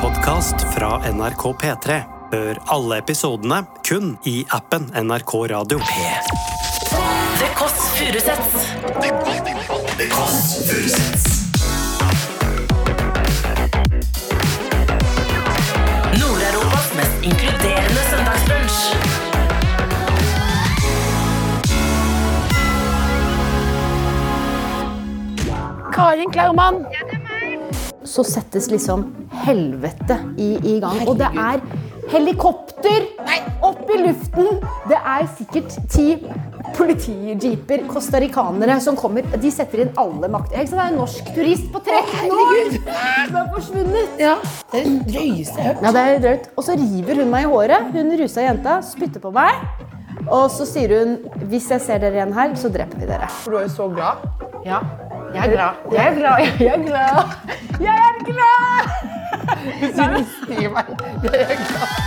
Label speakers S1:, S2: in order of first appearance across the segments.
S1: podkast fra NRK P3. Hør alle episodene kun i appen NRK Radio.
S2: The Kåss Furuseths. Nord-Europas mest inkluderende søndagsbrunch.
S3: Karin Klaumann.
S4: så settes liksom helvete i, i gang. Og det er helikopter opp i luften! Det er sikkert ti politijeeper, costaricanere, som kommer. De setter inn alle makter. Ikke sant? Det er en norsk turist på 13 år som er forsvunnet. Ja.
S3: Det er det drøyeste jeg har hørt.
S4: det er drøyt. Og så river hun meg i håret. Hun rusa jenta spytter på meg. Og så sier hun hvis jeg ser dere igjen her, så dreper vi dere.
S3: For du er jo så glad.
S4: Ja.
S3: Jeg er glad. Jeg er glad. Jeg er glad. Jeg er glad! Hvis du rister i meg. Det er jeg glad.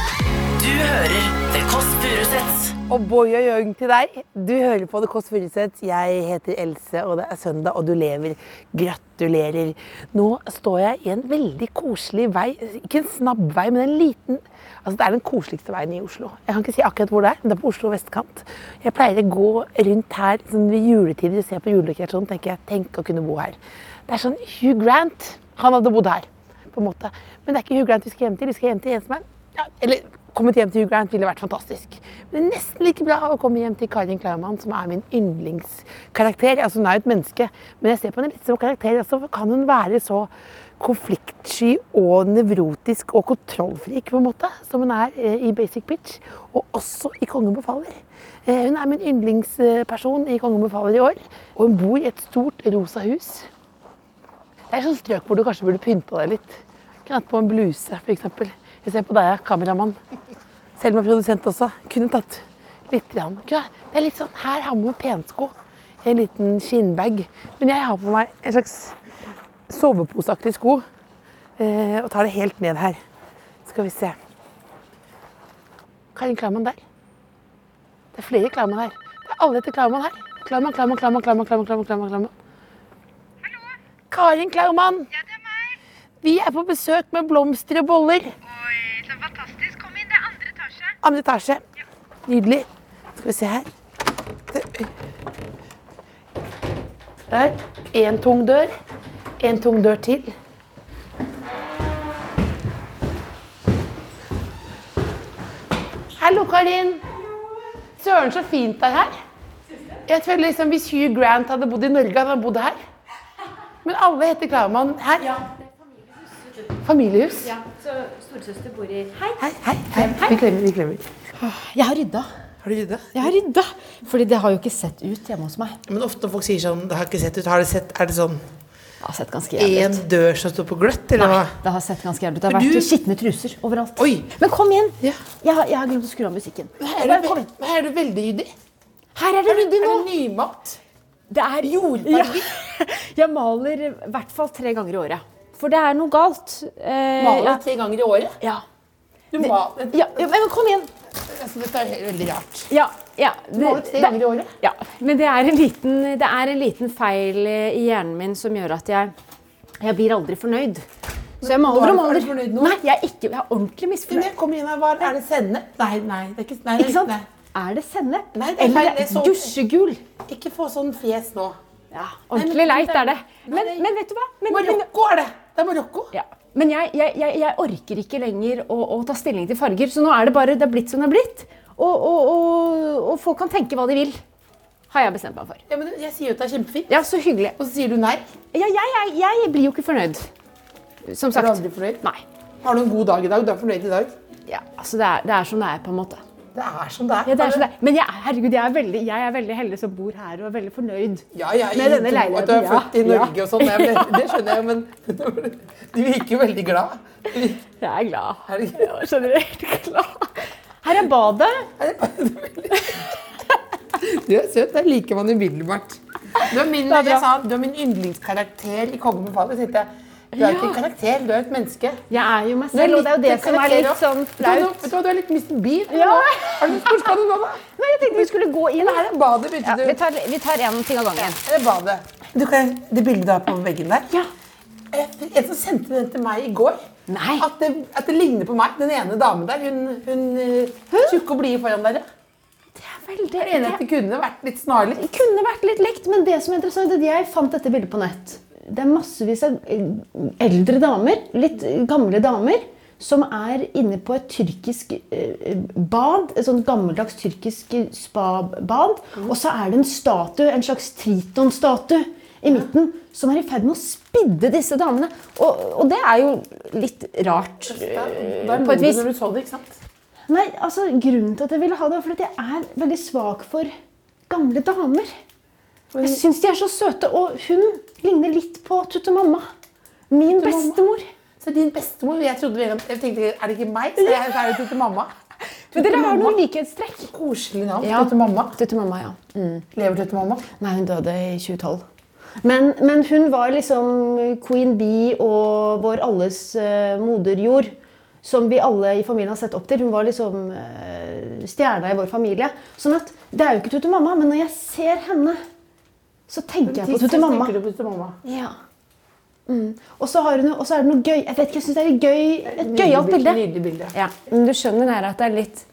S2: Du hører The Kåss Furuseths.
S3: Og boy og young til deg. Du hører på The Kåss Furuseth. Jeg heter Else, og det er søndag, og du lever. Gratulerer. Nå står jeg i en veldig koselig vei. Ikke en snabb vei, men en liten Altså, Det er den koseligste veien i Oslo. Jeg kan ikke si akkurat hvor det er. men Det er på Oslo vestkant. Jeg pleier å gå rundt her sånn ved juletider og se på juledekorasjonen tenker jeg tenk å kunne bo her. Det er sånn Hugh Grant. Han hadde bodd her. på en måte. Men det er ikke Hugh Grant vi skal hjem til. Vi skal hjem til en som er ja, Eller kommet hjem til Hugh Grant ville vært fantastisk. Men nesten like bra å komme hjem til Karin Klaumann, som er min yndlingskarakter. Altså, hun er jo et menneske, men jeg ser på henne litt som karakter. Altså, kan hun være så konfliktsky og nevrotisk og kontrollfrik på en måte, som hun er eh, i Basic Pitch, og også i Kongen befaler. Eh, Hun er min yndlingsperson i Kongen befaler i år, og hun bor i et stort rosa hus. Det er sånn strøk hvor du kanskje burde pynta deg litt. Kunne hatt på en bluse, f.eks. Jeg ser på deg, kameramann. Selv om jeg er produsent også. Kunne tatt litt grann. Kunne jeg- Det er litt sånn Her har man med pensko. En liten skinnbag. Men jeg har på meg en slags soveposeaktig sko. eh, Og tar det helt ned her. Skal vi se. Karin Klaumann der. Det er flere Klaumann her. Det er alle etter Klaumann her. Klaumann, Klaumann, Klaumann, Klaumann, Klaumann, Klaumann, Klaumann, Klaumann. Karin Klaumann.
S5: Ja, det er meg.
S3: Vi er på besøk med blomster og boller.
S5: Oi, så fantastisk. Kom inn, det er andre etasje.
S3: Andre etasje. Nydelig. Skal vi se her. Der. Én tung dør. Én tung dør til. Hallo, Karin. Søren, så fint det er her. Jeg føler liksom Hvis Hugh Grant hadde bodd i Norge, hadde han bodd her. Men alle heter Klaumann her. Familiehus.
S6: Ja, så storesøster bor i
S3: Hei, hei. hei. Vi klemmer, vi klemmer.
S4: Jeg har rydda.
S3: Har du rydda?
S4: Jeg har rydda. Fordi det har jo ikke sett ut hjemme hos meg.
S3: Men ofte når folk sier sånn, det har ikke sett ut, har det sett, er det sånn
S4: Det har sett ganske jævlig
S3: én
S4: ut.
S3: dør som står på gløtt, eller hva?
S4: Nei, det har sett ganske jævlig ut. Det har
S3: Men
S4: vært
S3: du-
S4: skitne truser overalt.
S3: Oi.
S4: Men kom igjen!
S3: Ja.
S4: Jeg, har, jeg har glemt å skru av musikken.
S3: Her
S4: Bare
S3: er, du,
S4: kom inn.
S3: ve- her er du veldig ryddig.
S4: Her er det ryddig nå!
S3: Er det nymalt?
S4: Det er jordfarger. Jeg maler i hvert fall tre ganger i året. For det er noe galt. Eh,
S3: Maler
S4: ja.
S3: tre ganger i året?
S4: Ja.
S3: Du maler
S4: Ja, ja, men kom igjen!
S3: altså, Dette er helt- veldig rart.
S4: Ja, ja. Det,
S3: Maler tre
S4: det-
S3: ganger i året?
S4: Ja, men det er, en liten, det er en liten feil eh, i hjernen min som gjør at jeg, jeg blir aldri fornøyd. Så
S3: nå
S4: jeg
S3: er
S4: maler og
S3: du- er
S4: maler.
S3: du fornøyd nå?
S4: Nei, jeg er, ikke, jeg er ordentlig
S3: Men
S4: misfornøyd.
S3: jeg kommer inn her, hva er det sennep? Nei, nei, det er ikke, nei, det er
S4: Ikke sant?
S3: Nei.
S4: Er det sennep?
S3: Nei, det er
S4: Eller
S3: feil, det er så-
S4: dusjegul?
S3: Ikke få sånn fjes nå.
S4: Ja,
S3: Nei,
S4: ordentlig
S3: men-
S4: leit er det. Men,
S3: Nei.
S4: men vet du hva? Men, men,
S3: Marokko er det! Det er Marokko.
S4: ja. men jeg, jeg, jeg, jeg orker ikke lenger å, å ta stilling til farger, så nå er det bare det er blitt som det er blitt. Og, og, og, og folk kan tenke hva de vil, har jeg bestemt meg for.
S3: Ja, men jeg sier jo at det er kjempefint,
S4: Ja, så hyggelig.
S3: og så sier du nei.
S4: Ja, jeg, jeg, jeg blir jo ikke fornøyd. Som
S3: Er
S4: sagt.
S3: du aldri fornøyd?
S4: Nei.
S3: Har du en god dag i dag? Du er fornøyd i dag?
S4: Ja, altså det er, det er som det er, på en måte.
S3: Det er som det er.
S4: Ja, det er som det er. Men jeg, herregud, jeg er, veldig, jeg er veldig heldig som bor her og er veldig fornøyd.
S3: Ja, ja,
S4: Med denne
S3: jeg tror at du er
S4: leiligheten, ja.
S3: født i Norge og sånn. det er vel- Det skjønner jeg, men du virker jo veldig glad. Du virker-
S4: Jeg er glad.
S3: Er det-
S4: Jeg er generelt glad. Her er badet.
S3: Du er søt. Det liker man umiddelbart. Du er min,
S4: Det er bra.
S3: jeg sa, du er min yndlingskarakter i Kongen befaler. Så tenkte jeg, du er ikke en karakter, du er et menneske.
S4: Jeg er jo meg
S3: Du er
S4: selv, og det er jo det
S3: litt
S4: som er
S3: karakter
S4: litt
S3: også.
S4: sånn
S3: Vet du hva, du-
S4: flaut.
S3: Vet du hva, du er litt Mr. Bean.
S4: Ja.
S3: Er du, hvor skal du nå, da?
S4: Nei, jeg tenkte vi skulle gå inn
S3: Her
S4: her.
S3: er badet, begynte
S4: Ja,
S3: du.
S4: vi tar- vi tar én ting av gangen.
S3: Her er badet. Du kan, det bildet du har på veggen der,
S4: Ja.
S7: Jeg- En som sendte den til meg i går.
S4: Nei.
S7: At det, at det ligner på meg. Den ene damen der, hun, hun eh, tjukke og blide foran dere.
S4: Veldig
S7: Jeg er enig i at det kunne vært litt snarlig.
S4: Det kunne vært litt lekt, men det som er interessant, er at jeg fant dette bildet på nett. Det er massevis av eh, eldre damer, litt eh, gamle damer, som er inne på et tyrkisk eh, bad. Et sånt gammeldags tyrkisk spa-bad. Og så er det en statue, en slags Triton-statue i midten, som er i ferd med å spidde disse damene. Og, og det er jo litt rart.
S7: Da
S4: på et vis.
S7: Når du så det, sånn, ikke sant?
S4: Nei, altså, grunnen til at jeg ville ha det, var fordi at jeg er veldig svak for gamle damer. Jeg syns de er så søte, og hun ligner litt på Tuttemamma. Min bestemor.
S7: Så din bestemor Jeg trodde vel- jeg tenkte, er det ikke meg? Så jeg, så er det til mamma.
S4: Men dere har
S7: Tuttemamma.
S4: noen likhetstrekk.
S7: Koselig navn.
S4: Ja.
S7: Tøtte mamma.
S4: Tuttemamma, ja.
S7: Lever tøtte mamma.
S4: Nei, hun døde i 2012. Men, men hun var liksom queen bee og vår alles eh, moderjord. Som vi alle i familien har sett opp til. Hun var liksom eh, stjerna i vår familie. Sånn at det er jo ikke Tutte mamma, men når jeg ser henne, så tenker jeg på Tutte mamma.
S7: Tenker du på Tøtte mamma?
S4: Ja. Mm. Og så har hun jo- og så er det noe gøy Jeg vet ikke, jeg syns det er et gøy, et gøyalt
S7: Nydelig-
S4: bilde.
S7: Nydelig bilde.
S4: Ja, Men du skjønner her at det er litt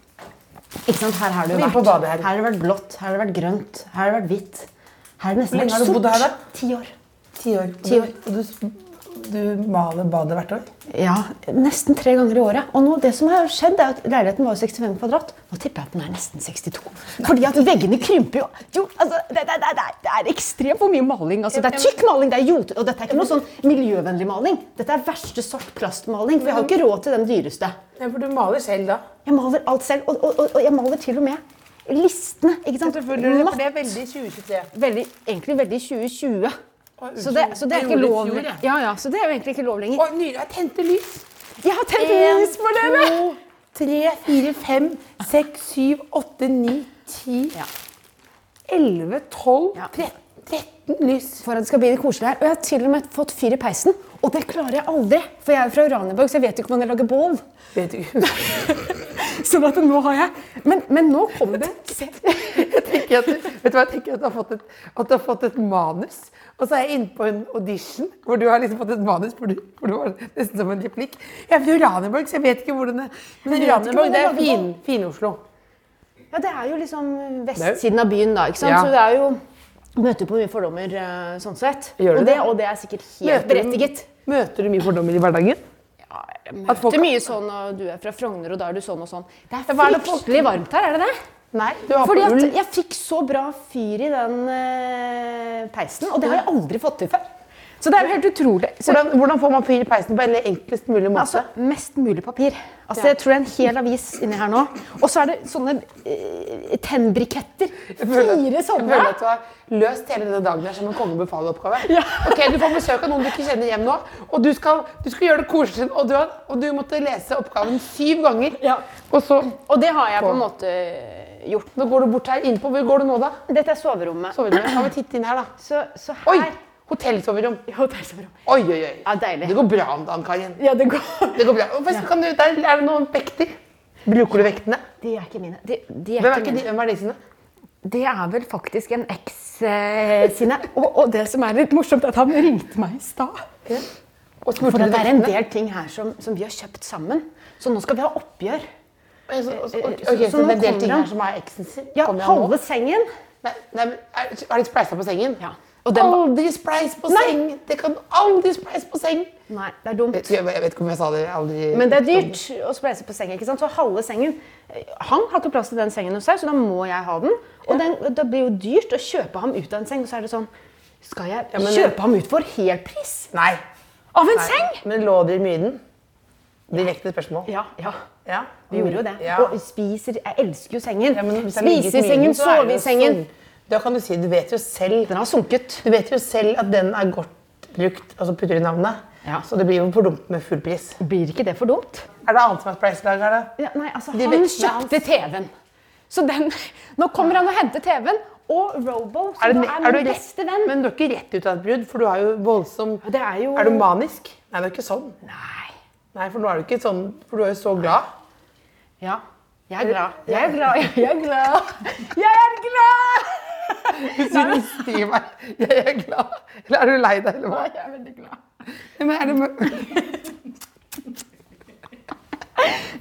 S4: Ikke sant, her har det jo
S7: Bli
S4: vært
S7: på badet her.
S4: Her har det vært blått, her har det vært grønt, her har det vært hvitt. Her har det nesten
S7: Hvor lenge
S4: vært
S7: har du bodd her, da?
S4: Ti år.
S7: Ti år.
S4: Ti år.
S7: Og du, du maler badet hvert år?
S4: Ja, Nesten tre ganger i året. Og nå, det som har skjedd er at Leiligheten var jo 65 kvadrat. Nå tipper jeg at den er nesten 62. Fordi at veggene krymper jo. jo altså, det, det, det, det, er- det er ekstremt hvor mye maling. Altså, det er tykk maling, det er jotete. Og dette er ikke noe sånn miljøvennlig maling. Dette er verste sort plastmaling. For jeg har jo ikke råd til den dyreste.
S7: Ja, for du maler selv da.
S4: Jeg maler alt selv. Og, og, og, og jeg maler til og med listene. ikke sant?
S7: For det
S4: Matt-
S7: er veldig 2023.
S4: veldig, egentlig veldig 2020. Så det, så det er
S7: Jeg
S4: ikke
S7: gjorde det i
S4: lov
S7: fjor,
S4: lenger.
S7: jeg.
S4: Ja, ja, så det er jo egentlig ikke lov lenger.
S7: Og nylig jeg tente lys.
S4: Jeg har tent lys for dere!
S7: to, tre, fire, fem, seks, syv, åtte, ni, ti,
S4: Ja.
S7: elleve, tolv,
S4: Ja.
S7: tretten. 13 lys.
S4: For at det skal bli det koselig her. Og jeg har til og med fått fyr i peisen. Og det klarer jeg aldri, for jeg er jo fra Uranienborg, så jeg vet jo ikke hvordan jeg lager bål.
S7: Vet du,
S4: Sånn at nå har jeg Men, men nå kom det Se.
S7: jeg tenker at, vet du hva, jeg tenker at du, har fått et, at du har fått et manus, og så er jeg inne på en audition, hvor du har liksom fått et manus, hvor du, hvor du har nesten som en replikk. Jeg er fra Uranienborg, så jeg vet ikke hvordan det... Men
S4: vet ikke hvordan
S7: Uranienborg, det
S4: jeg
S7: er
S4: lager
S7: fin, fin Oslo.
S4: Ja, det er jo liksom
S7: Det
S4: vestsiden av byen, da. ikke sant?
S7: Ja.
S4: Så det er jo Møter på mye fordommer eh, sånn sett.
S7: Gjør du
S4: og, det,
S7: det?
S4: og det er sikkert helt berettiget.
S7: Møter du mye fordommer i hverdagen?
S4: At folk... Det er mye sånn, og du er fra Frogner, og da er du sånn og sånn. Det er
S7: Hva er det folk-
S4: fryktelig varmt her, er det det?
S7: Nei, du har
S4: Fordi
S7: på
S4: at
S7: ull.
S4: jeg fikk så bra fyr i den eh, peisen, og det har jeg aldri fått til før. Så det er jo helt utrolig. Så,
S7: Hvordan, hvordan får man fyr i peisen på en enklest mulig måte?
S4: altså, mest mulig papir. Altså, Jeg tror det er en hel avis inni her nå. Og så er det sånne eh, tennbriketter. Fire
S7: Jeg føler
S4: sånne.
S7: at du har løst hele denne dagen her som en konge befaler-oppgave.
S4: Ja.
S7: Ok, Du får besøk av noen du ikke kjenner hjem nå, og du skal, du skal gjøre det koselig. Og du, har- og du måtte lese oppgaven syv ganger.
S4: Ja.
S7: Og så
S4: Og det har jeg på en måte eh, gjort.
S7: Nå går du bort her innpå. Hvor går du nå, da?
S4: Dette er soverommet.
S7: Soverommet. Kan vi titte inn her, da?
S4: Så, så her
S7: Oi! Hotellsoverom.
S4: Jo, det er soverom.
S7: Oi, oi, oi.
S4: Ja, deilig.
S7: Det går bra om dagen, Karin.
S4: Ja, det går.
S7: Det går bra. Og forresten, kan du, der er det noen vekter. Bruker du vektene?
S4: De er ikke mine. De, de er
S7: Hvem er,
S4: ikke
S7: ikke
S4: mine.
S7: de, hvem er de sine?
S4: Det er vel faktisk en eks eh, sine. Og, og det som er litt morsomt, er at han ringte meg i stad.
S7: Og spurte
S4: For
S7: du
S4: det er en
S7: vektene?
S4: del ting her som, som vi har kjøpt sammen. Så nå skal vi ha oppgjør.
S7: Så, så, Altså, ok,
S4: Så- så
S7: Eh, så det er
S4: nå
S7: en del
S4: kommer
S7: ting
S4: han.
S7: her som er eksen sin?
S4: Ja,
S7: Kommer han nå?
S4: halve sengen.
S7: Nei, nei, men er- Har de spleisa på sengen?
S4: Ja. Og den var-
S7: Aldri spleis på
S4: Nei.
S7: seng! Det kan aldri spleis på seng!
S4: Nei, det er
S7: Jeg,
S4: dumt.
S7: tror jeg, jeg vet ikke om jeg sa det. aldri...
S4: Eh, Men det er dyrt å spleise på sengen. ikke sant? Så halve sengen eh, Han har ikke plass til den sengen hos seg, så da må jeg ha den. Og den, da blir jo dyrt å kjøpe ham ut av en seng. Og så er det sånn Skal jeg
S7: men-
S4: kjøpe ham ut for helpris?
S7: Nei.
S4: Av en
S7: nei.
S4: seng?
S7: Men lå dere mye i den? Direkte spørsmål.
S4: Ja, ja.
S7: Ja.
S4: Vi gjorde jo det.
S7: Ja.
S4: Og spiser Jeg elsker jo sengen.
S7: Ja, men hvis det har ligget
S4: Spiser i
S7: mye
S4: sengen,
S7: den, så er det
S4: sover
S7: jo
S4: i sengen.
S7: sunn- Da kan du si du vet jo selv
S4: Den har sunket.
S7: Du vet jo selv at den er godt brukt, og så putter du navnet.
S4: Ja.
S7: Så det blir jo for dumt med full pris.
S4: Blir ikke det for dumt?
S7: Er det annet som er spleiselag her, da?
S4: Ja, nei, altså,
S7: De
S4: han
S7: vektene
S4: kjøpte TV-en. Så den Nå kommer han og henter TV-en. Og Robo, som
S7: Er,
S4: da
S7: det,
S4: er,
S7: er du
S4: min
S7: rett,
S4: beste venn.
S7: Men du er ikke rett ut av et brudd, for du er jo voldsom
S4: Ja, det er jo-
S7: du manisk? Nei, det er ikke sånn.
S4: Nei.
S7: Nei, for nå er du ikke sånn, for du er jo så glad.
S4: Ja. Jeg er glad. Jeg er glad. Jeg er glad. Jeg er glad!
S7: Du rister i meg. Jeg er glad. Eller er du lei deg, eller hva?
S4: Jeg er veldig glad.
S3: Men er det med...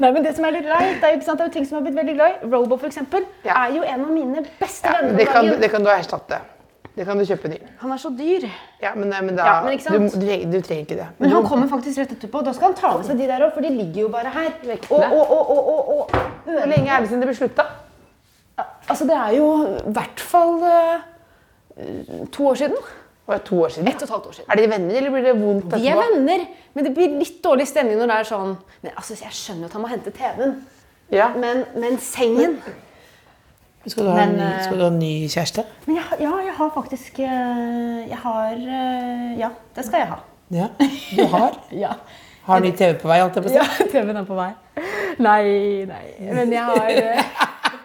S5: Nei, men Det som er litt leit, det er jo ikke sant, det er jo ting som har blitt veldig glad i. Robo for eksempel,
S7: Ja.
S5: er jo en av mine beste
S7: Ja,
S5: venner
S7: det,
S5: om
S7: kan,
S5: dagen.
S7: det kan du erstatte. Det kan du kjøpe ny.
S5: Han er så dyr.
S7: Ja, men, eh, men da,
S5: Ja, men ikke
S7: du,
S5: sant?
S7: du, trenger, du trenger ikke det.
S5: Men han kommer faktisk rett etterpå. og Da skal han ta med seg de der òg, for de ligger jo bare her. Og, og, og, og, og, og.
S7: Hvor lenge er det siden det ble slutta?
S5: Altså, det er jo i hvert fall eh, to år siden.
S7: Var det to år siden?
S5: Ett og et halvt år siden.
S7: Er dere venner, eller blir det vondt
S5: De er venner, men det blir litt dårlig stemning når det er sånn men, altså, Jeg skjønner at han må hente TV-en,
S7: Ja.
S5: men, men sengen
S7: Skal, du ha en, ny- skal du ha en ny kjæreste?
S5: Men jeg, ja, jeg har faktisk eh, Jeg har eh, Ja, det skal jeg ha.
S7: Ja. Du har?
S5: Ja.
S7: Har ny TV på vei, holdt jeg på å si.
S5: TV-en er på vei. Nei, nei. Men jeg har eh,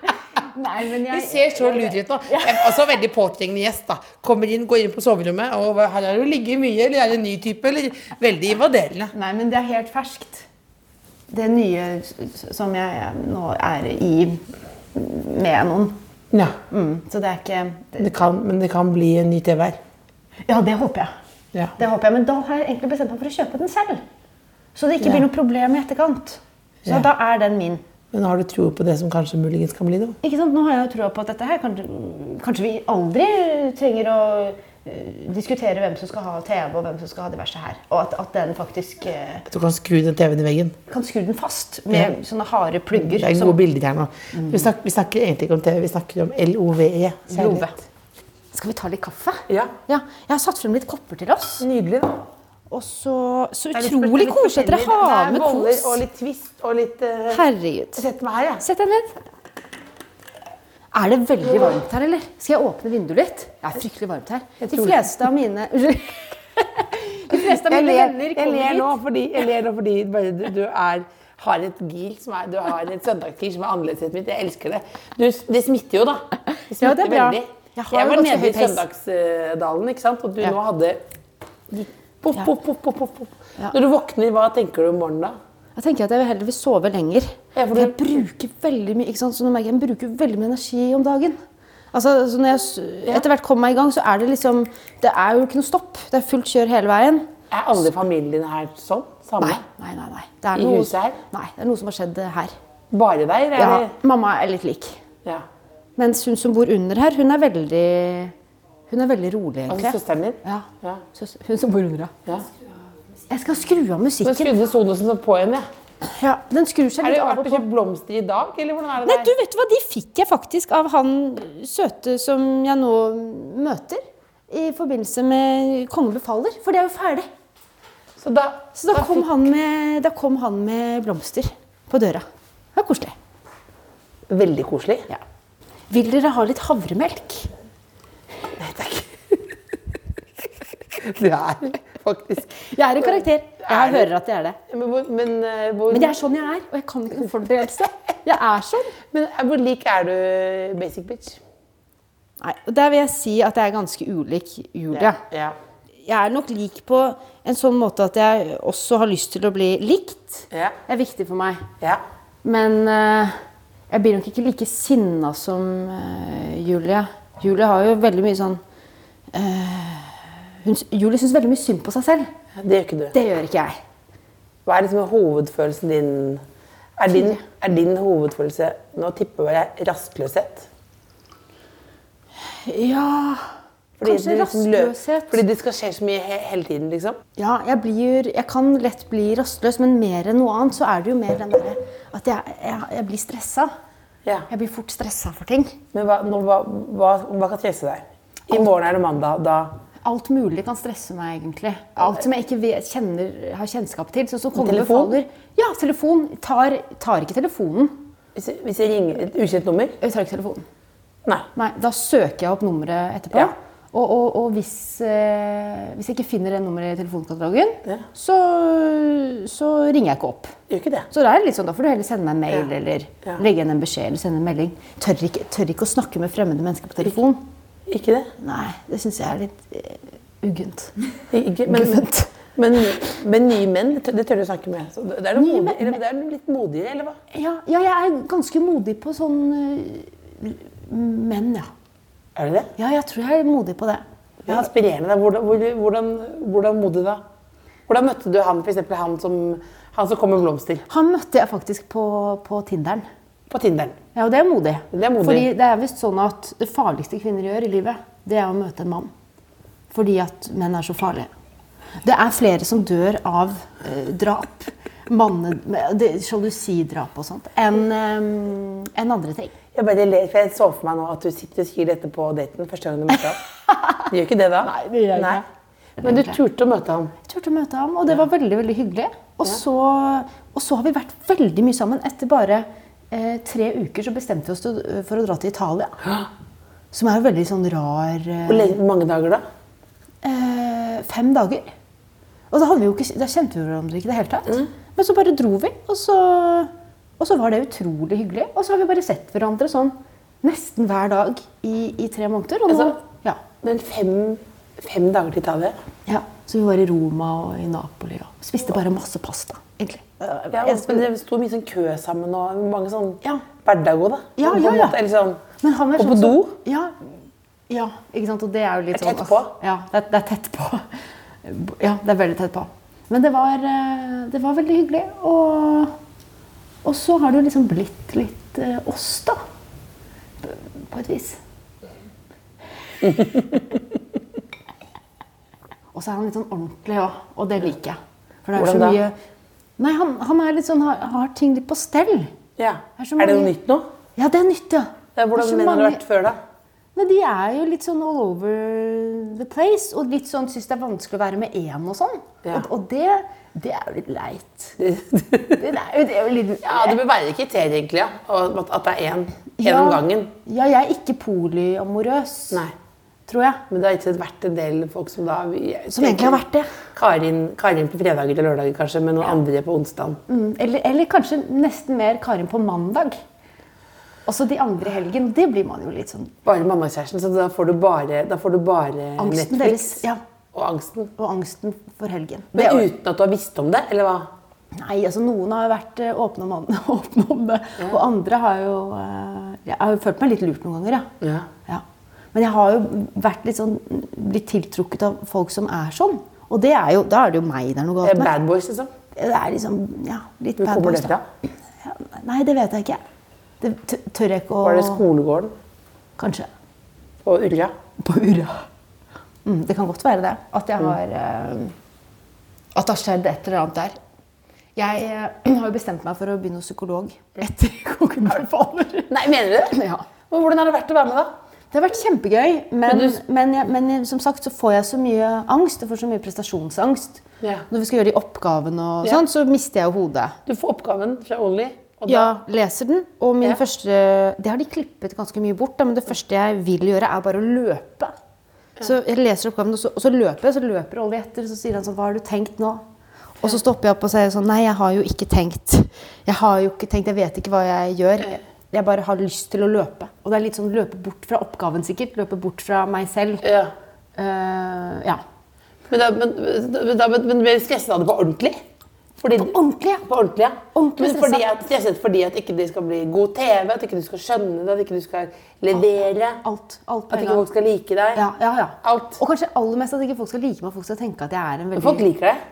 S5: Nei, men
S7: Du
S5: jeg
S7: ser så lur ut nå. En- Altså veldig påtrengende gjest, da. Kommer inn, går inn på soverommet, og hva- her har du ligget mye, eller er det en ny type, eller Veldig invaderende.
S5: Nei, men det er helt ferskt. Det nye s- s- som jeg nå er i med noen.
S7: Ja,
S5: Mm, så det er ikke det,
S7: det kan, men det kan bli en ny TV her.
S5: Ja, det håper jeg.
S7: Ja.
S5: Det håper jeg, Men da har jeg egentlig bestemt meg for å kjøpe den selv. Så det ikke blir noe problem i etterkant. Så
S7: Ja.
S5: da er den min.
S7: Men har du tro på det som kanskje muligens kan bli det?
S5: Ikke sant? Nå har jeg jo trua på at dette her kanskje, kanskje vi aldri trenger å eh, diskutere hvem som skal ha TV, og hvem som skal ha diverse her. Og at, at den faktisk eh,
S7: At du kan skru den TV-en i veggen.
S5: kan skru den fast med
S7: Ja.
S5: sånne harde plugger.
S7: Det er
S5: som-
S7: gode bilder her nå.
S5: Mm.
S7: Vi, snakker, vi snakker egentlig ikke om TV, vi snakker om LOVE.
S5: Love. Skal vi ta litt kaffe?
S7: Ja. Mm.
S5: Jeg har satt frem litt kopper til oss.
S7: Nydelig, da.
S5: Og så, så utrolig koselig at dere har med kos.
S7: Og litt twist og litt eh,
S5: Herregud.
S7: Sett meg her, jeg.
S5: Sett deg ned. Er det veldig varmt her, eller? Skal jeg åpne vinduet litt? Det er fryktelig varmt her. De fleste av mine Unnskyld. De fleste av
S7: Jeg
S5: mine
S7: ler,
S5: venner
S7: jeg
S5: kommer
S7: ler nå
S5: hit.
S7: fordi, jeg ler nå fordi bare du, du er, har et gir som er, du har et søndagsgir som er annerledes enn mitt. Jeg elsker det. Du, det smitter jo, da. Det smitter
S5: Ja, det er bra.
S7: veldig.
S5: Jeg
S7: Jeg,
S5: har jo
S7: var
S5: ganske
S7: nede i
S5: høy pes.
S7: Søndagsdalen, ikke sant? og du
S5: Ja.
S7: nå hadde pop,
S5: Ja.
S7: pop, pop, pop, pop, pop.
S5: Ja.
S7: Når du våkner, hva tenker du om morgenen da?
S5: Jeg tenker at jeg vil heller vil sove lenger.
S7: Ja, for
S5: For
S7: du-
S5: jeg bruker veldig mye ikke sant? Så nå merker jeg jeg bruker veldig mye energi om dagen. Altså, så når jeg s- etter hvert kommer meg i gang, så er det liksom Det er jo ikke noe stopp. Det er fullt kjør hele veien.
S7: Er alle i familien din her sånn? Samme?
S5: Nei, nei, nei. nei. Det er
S7: I
S5: noe,
S7: huset her?
S5: Nei, det er noe som har skjedd eh, her.
S7: Bare deg? eller
S5: Ja,
S7: er det-
S5: mamma er litt lik.
S7: ja.
S5: Mens hun som bor under her, hun er veldig Hun er veldig rolig,
S7: Altså
S5: egentlig.
S7: søsteren din?
S5: Ja.
S7: Ja.
S5: Søs- Hun som bor under,
S7: Ja.
S5: Jeg skal skru av
S7: Nå
S5: musikken.
S7: skrudde Sonosen så på igjen, ja.
S5: Ja, den skrur seg
S7: Er det
S5: litt av
S7: artig å
S5: og på.
S7: kjøpe blomster i dag, eller hvordan er det
S5: Nei,
S7: der?
S5: du vet du hva, de fikk jeg faktisk av han søte som jeg nå møter. I forbindelse med Kongen befaler, for det er jo ferdig.
S7: Så da,
S5: Så da kom
S7: fikk-
S5: han med, da kom han med blomster på døra. Det var koselig.
S7: Veldig koselig.
S5: Ja. Vil dere ha litt havremelk?
S7: Det er faktisk
S5: Jeg er en karakter. Jeg hører at jeg er det.
S7: Men hvor, men, eh, hvor,
S5: Men det er sånn jeg er, og jeg kan ikke noe forberedelse. Jeg er sånn.
S7: men, eh, hvor lik er du basic bitch?
S5: Nei, og Der vil jeg si at jeg er ganske ulik Julia.
S7: Ja.
S5: Jeg er nok lik på en sånn måte at jeg også har lyst til å bli likt.
S7: Ja.
S5: Det er viktig for meg.
S7: ja.
S5: Men eh, jeg blir nok ikke like sinna som eh, Julie. Julie har jo veldig mye sånn eh, hun, Julie syns veldig mye synd på seg selv.
S7: Det gjør ikke du.
S5: Det gjør ikke jeg.
S7: Hva er liksom hovedfølelsen din? Er din, er din hovedfølelse Nå tipper jeg rastløshet.
S5: Ja, kanskje
S7: det liksom lø-
S5: rastløshet.
S7: Fordi det skal skje så mye he hele tiden, liksom.
S5: Ja, jeg, blir, jeg kan lett bli rastløs, men mer enn noe annet så er det jo mer den derre at jeg, jeg, jeg blir stressa.
S7: Ja.
S5: Jeg blir fort stressa for ting.
S7: Men hva, nå, hva, hva, hva kan stresse deg? I morgen er det mandag. Da
S5: Alt mulig kan stresse meg, egentlig. Alt som jeg ikke vet, kjenner, har kjennskap til. Sånn som kongen
S7: Telefon?
S5: befaler. Ja, telefon. Tar, tar ikke telefonen.
S7: Hvis, jeg- hvis jeg ringer et ukjent nummer?
S5: Jeg tar ikke telefonen.
S7: Nei.
S5: Nei, da søker jeg opp nummeret etterpå.
S7: Ja.
S5: Og, og, og hvis, eh, hvis jeg ikke finner det nummeret i telefonkatalogen,
S7: Ja.
S5: så, så ringer jeg ikke opp.
S7: Gjør ikke det.
S5: Så da er det litt sånn, da får du heller sende meg en mail
S7: Ja.
S5: eller
S7: Ja.
S5: legge igjen en beskjed eller sende en melding. Tør ikke, tør ikke å snakke med fremmede mennesker på telefon.
S7: Ikke det.
S5: Nei, det syns jeg er litt eh, uggent.
S7: Ikke, men,
S5: Guffent.
S7: men, men nye menn, det tør- det tør du snakke med. Så det det er, noe
S5: Nye
S7: modig,
S5: menn-
S7: eller, det er noe litt modigere, eller hva?
S5: Ja, ja, jeg er ganske modig på sånn eh, menn, ja.
S7: Er det det?
S5: Ja, altså, jeg tror jeg er modig på det.
S7: Ja, inspirerende. da. Hvordan, hvor- hvordan, hvordan modig da? Hvordan møtte du han, for eksempel, han som, han som kom med blomster
S5: Han møtte jeg faktisk på, på Tinderen.
S7: på Tinderen?
S5: Ja, og det er modig.
S7: Det er modig.
S5: Fordi det er visst sånn at det farligste kvinner gjør i livet, det er å møte en mann. Fordi at menn er så farlige. Det er flere som dør av eh, drap. Manne- det- Sjalusidrap og sånt. Enn eh, enn andre ting.
S7: Jeg bare ler, for jeg så for meg nå at du sitter og sier dette på daten første gang du møter ham. Du gjør ikke det da? Nei,
S5: det gjør jeg ikke.
S7: Men du turte å møte ham.
S5: Jeg turte å møte ham, og det var veldig veldig hyggelig. Og så, og så har vi vært veldig mye sammen. Etter bare eh, tre uker så bestemte vi oss til, å- for å dra til Italia. Som er jo veldig sånn rar eh,
S7: Hvor lenge- hvor mange dager da?
S5: eh, Fem dager. Og da, hadde vi jo ikke, da kjente vi hverandre ikke i det hele tatt. Men så bare dro vi, og så, og så var det utrolig hyggelig. Og så har vi bare sett hverandre sånn nesten hver dag i, i tre måneder. Og nå,
S7: Altså-
S5: ja,
S7: Men fem, fem dager til Italia?
S5: ja. Så vi var i Roma og i Napoli og spiste bare masse pasta, egentlig.
S7: Ja,
S5: Jeg
S7: og
S5: skulle-
S7: det sto mye sånn kø sammen og mange sånn
S5: Ja.
S7: hverdag også da.
S5: Ja,
S7: På en
S5: ja, ja.
S7: måte, Eller sånn,
S5: Men han er
S7: og på
S5: sånn
S7: do?
S5: som- Ja, ja, ikke sant? Og det er jo litt
S7: Det er tett
S5: sånn ass,
S7: på.
S5: Ja, det er, det er tett på. Ja, det er veldig tett på. Men det var, eh, det var veldig hyggelig. Og, og så har det jo liksom blitt litt eh, oss, da. På- På et vis. og så er han litt sånn ordentlig òg, og det liker jeg. For det er
S7: Hvordan
S5: så
S7: da?
S5: mye Nei, han, han er litt sånn, har, har ting litt på stell.
S7: Ja.
S5: Det er
S7: Er,
S5: så
S7: det
S5: mange-
S7: noe nytt nå?
S5: Ja, det er nytt, ja.
S7: Det er hvordan
S5: så
S7: menn har
S5: mange-
S7: vært før da?
S5: men de er jo litt sånn all over the place, og litt sånn syns det er vanskelig å være med én og sånn.
S7: Ja.
S5: Og, og det, det er jo litt leit. Det er jo, det er jo litt
S7: Ja, det bør være kriteriet egentlig, ja. Og at- at det er en, en
S5: Ja.
S7: om gangen.
S5: Ja, jeg er ikke polyamorøs,
S7: Nei.
S5: tror jeg.
S7: Men det har ikke vært en del folk som da... jeg
S5: Som egentlig har vært det.
S7: Karin, Karin på fredager til lørdager kanskje, men noen andre på onsdagen.
S5: Mm, eller, eller kanskje nesten mer Karin på mandag. Og så de andre i helgen. Det blir man jo litt sånn
S7: Bare mammakjæresten, så da får du bare, da får du bare
S5: Angsten
S7: Netflix
S5: deres, ja.
S7: og angsten.
S5: Og angsten for helgen. Det er
S7: Men
S5: jo-
S7: uten at du har visst om det, eller hva?
S5: Nei, altså noen har jo vært eh, åpne om, an- åpne om det. Og andre har jo eh, Jeg har jo følt meg litt lurt noen ganger, ja.
S7: Ja.
S5: Men jeg har jo vært litt sånn blitt tiltrukket av folk som er sånn. Og det er jo, da er det jo meg det er noe
S7: Det
S5: galt
S7: er
S5: med.
S7: bad boys, liksom.
S5: Det er liksom, ja, litt
S7: Hvor
S5: bad
S7: kommer
S5: boys,
S7: det
S5: da.
S7: fra?
S5: Ja, nei, det vet jeg ikke. Det t- tør jeg ikke å
S7: Var det skolegården
S5: Kanskje.
S7: og Urja?
S5: På Ura. Mm, det kan godt være det. At jeg har eh, At det har skjedd et eller annet der. Jeg eh, har jo bestemt meg for å begynne hos psykolog etter Kongen befaler.
S7: Nei, mener du det?
S5: Ja.
S7: Men hvordan har det vært å være med, da?
S5: Det har vært kjempegøy, men, men, jeg, men jeg- som sagt så får jeg så mye angst. Jeg får så mye prestasjonsangst.
S7: Ja.
S5: Når vi skal gjøre de oppgavene, og
S7: Ja.
S5: sånn, så mister jeg jo hodet.
S7: Du får oppgaven fra Only. Og da,
S5: Ja, leser den. Og min
S7: Ja.
S5: første Det har de klippet ganske mye bort, da, men det første jeg vil gjøre, er bare å løpe. Så jeg leser oppgaven, og så, og så løper jeg, så løper Olli etter, og så sier han sånn Hva har du tenkt nå? Og så stopper jeg opp og sier sånn Nei, jeg har jo ikke tenkt. Jeg har jo ikke tenkt, jeg vet ikke hva jeg gjør. Jeg bare har lyst til å løpe. Og det er litt sånn løpe bort fra oppgaven, sikkert. Løpe bort fra meg selv.
S7: Ja.
S5: Eh, ja.
S7: Men, da, men, men da, men, men ble du stresset av det på ordentlig? Fordi,
S5: På ordentlig, ja.
S7: På ordentlig, ja.
S5: Ordentlig
S7: men fordi
S5: stresset.
S7: at, stresset fordi at ikke det skal bli god TV, at ikke du skal skjønne det, at ikke du skal levere.
S5: Alt. alt
S7: At
S5: på en
S7: ikke
S5: gang.
S7: folk skal like deg.
S5: ja, ja, ja.
S7: Alt.
S5: Og kanskje aller mest at ikke folk skal like meg, folk skal tenke at jeg er en veldig
S7: Folk liker deg.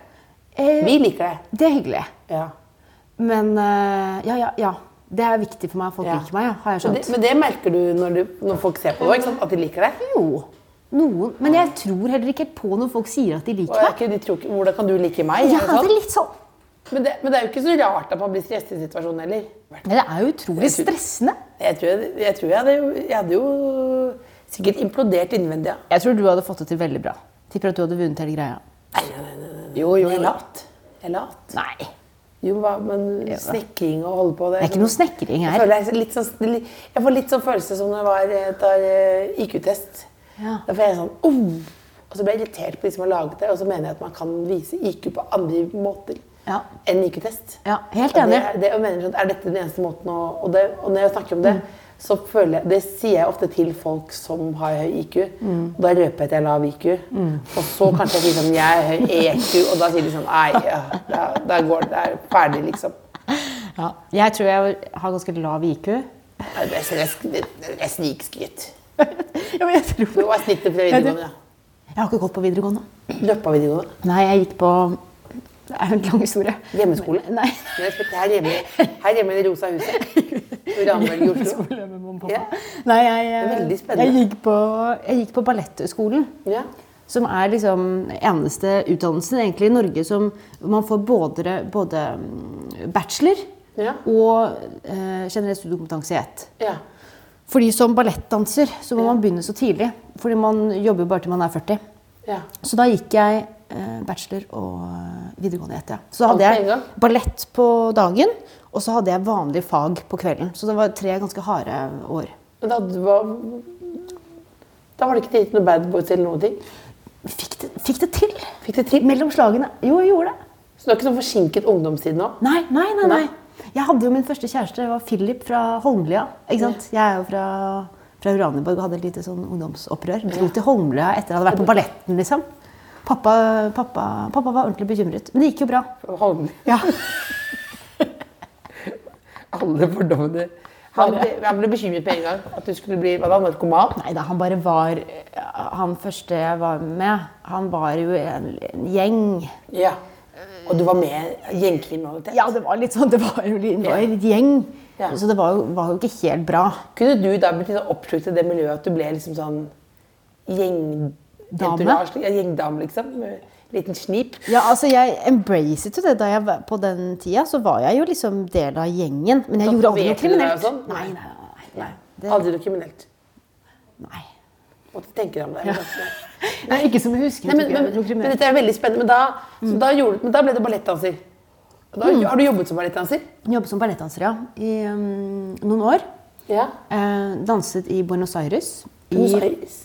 S5: Eh,
S7: Vi liker deg.
S5: Det er hyggelig.
S7: Ja.
S5: Men eh, ja, ja, ja. Det er viktig for meg at folk
S7: Ja.
S5: liker meg, ja, har jeg
S7: Men, det,
S5: skjønt.
S7: men det merker du når, du når folk ser på deg, ikke sant? at de liker deg.
S5: Jo, noen. Men jeg tror heller ikke på når folk sier at de
S7: Og
S5: liker
S7: jeg,
S5: meg.
S7: ikke- de tror ikke, hvordan kan du like meg?
S5: Ja,
S7: Er det
S5: det
S7: sånn?
S5: er litt sånn.
S7: men, det, men det er jo ikke så rart at man blir stresset i situasjonen heller.
S5: Men det er jo utrolig
S7: Jeg tror-
S5: stressende.
S7: Jeg tror jeg, jeg, tror jeg, hadde, jo- jeg hadde jo sikkert implodert innvendig. ja.
S5: Jeg tror du hadde fått det til veldig bra. Tipper at du hadde vunnet hele greia.
S7: Jo, jo, jeg er lat. Jeg er lat.
S5: Nei.
S7: Jo, hva, men snekring og holde på det. sånn-
S5: Det er ikke noe snekring
S7: Jeg,
S5: her.
S7: føler jeg, er litt sånn, jeg får litt sånn følelse som når jeg var, eh, tar eh, IQ-test.
S5: Ja.
S7: Da får jeg sånn oh! Og så blir jeg irritert på de som har laget det, og så mener jeg at man kan vise IQ på andre måter
S5: Ja.
S7: enn IQ-test.
S5: Ja, helt
S7: Og det
S5: enig.
S7: er- Det, og mener sånn, er dette den eneste måten å og, det, og når jeg snakker om
S5: Mm.
S7: det, så føler jeg Det sier jeg ofte til folk som har høy IQ,
S5: Mm.
S7: og da røper jeg at jeg har lav IQ. Og så kanskje jeg sier sånn Jeg er høy EQ, og da sier de sånn Nei, ja, da, da går det. Det er ferdig, liksom.
S5: Ja. Jeg tror jeg har ganske lav IQ.
S7: Jeg, jeg, jeg, jeg, jeg snikskryt.
S5: Ja, men jeg tror
S7: Hva er snittet fra videregående?
S5: Jeg har ikke gått på videregående.
S7: Løpa videregående?
S5: Nei, jeg gikk på Det er jo en lang historie.
S7: Hjemmeskole?
S5: Men- Nei.
S7: Men jeg spurte her hjemme, her hjemme i det rosa huset. I Randaberg i Oslo.
S5: Hjemmeskole med mamma og pappa.
S7: Ja.
S5: Nei, jeg,
S7: Det er veldig spennende.
S5: jeg gikk på, jeg gikk på ballettskolen.
S7: Ja.
S5: Som er liksom eneste utdannelsen egentlig i Norge som man får både, både mm, bachelor
S7: Ja.
S5: og eh, generell studiekompetanse i ett.
S7: ja.
S5: Fordi som ballettdanser så må man begynne så tidlig. Fordi man jobber bare til man er 40.
S7: Ja.
S5: Så da gikk jeg eh, bachelor og eh, videregående i ett. Ja. Så da
S7: Alt
S5: hadde
S7: på en gang?
S5: jeg ballett på dagen, og så hadde jeg vanlige fag på kvelden. Så det var tre ganske harde år.
S7: Men da var, da var det ikke tid til noe bad boys eller noen ting.
S5: Fikk det, fikk det til! Fikk det til? Mellom slagene. Jo, jeg gjorde det.
S7: Så du har ikke noen forsinket ungdomstid nå?
S5: Nei, nei, nei.
S7: Nei.
S5: nei. Jeg hadde jo min første kjæreste, det var Philip fra Holmlia. Ikke sant? Jeg er jo fra, fra Uraniborg og hadde et lite sånn ungdomsopprør. Dro til Holmlia etter jeg hadde vært på balletten, liksom. Pappa, pappa, pappa var ordentlig bekymret. Men det gikk jo bra.
S7: Holm,
S5: Ja.
S7: alle fordommene. Han ble, han ble bekymret med en gang. At du skulle bli hva da, narkoman.
S5: Nei da, han bare var Han første jeg var med, han var jo en, en gjeng.
S7: Ja. Og du var med i gjengkriminalitet.
S5: Ja, det var litt sånn, det var jo li- det var jo litt gjeng.
S7: Ja.
S5: Så det var jo, var jo ikke helt bra.
S7: Kunne du da blitt liksom oppslukt i det miljøet at du ble liksom sånn gjeng...
S5: Dame?
S7: entourage, Ja, gjengdame, liksom. Med Liten snip.
S5: Ja, altså jeg embracet jo det. Da jeg var på den tida så var jeg jo liksom del av gjengen. Men jeg gjorde aldri noe
S7: Tatoverte du deg og
S5: kriminelt.
S7: sånn?
S5: Nei, nei, nei. nei. Det,
S7: Aldri noe kriminelt.
S5: nei.
S7: Måtte tenke deg om det.
S5: Nei, ikke som jeg husker.
S7: Nei, men, men, men dette Mm. er veldig spennende. Men da, så da, gjorde, men da ble du ballettdanser. Og Da, Har du jobbet som ballettdanser?
S5: Jobbet som ballettdanser, ja. I um, noen år.
S7: Ja.
S5: Eh, danset i Buenos Aires. I,
S7: Buenos Aires.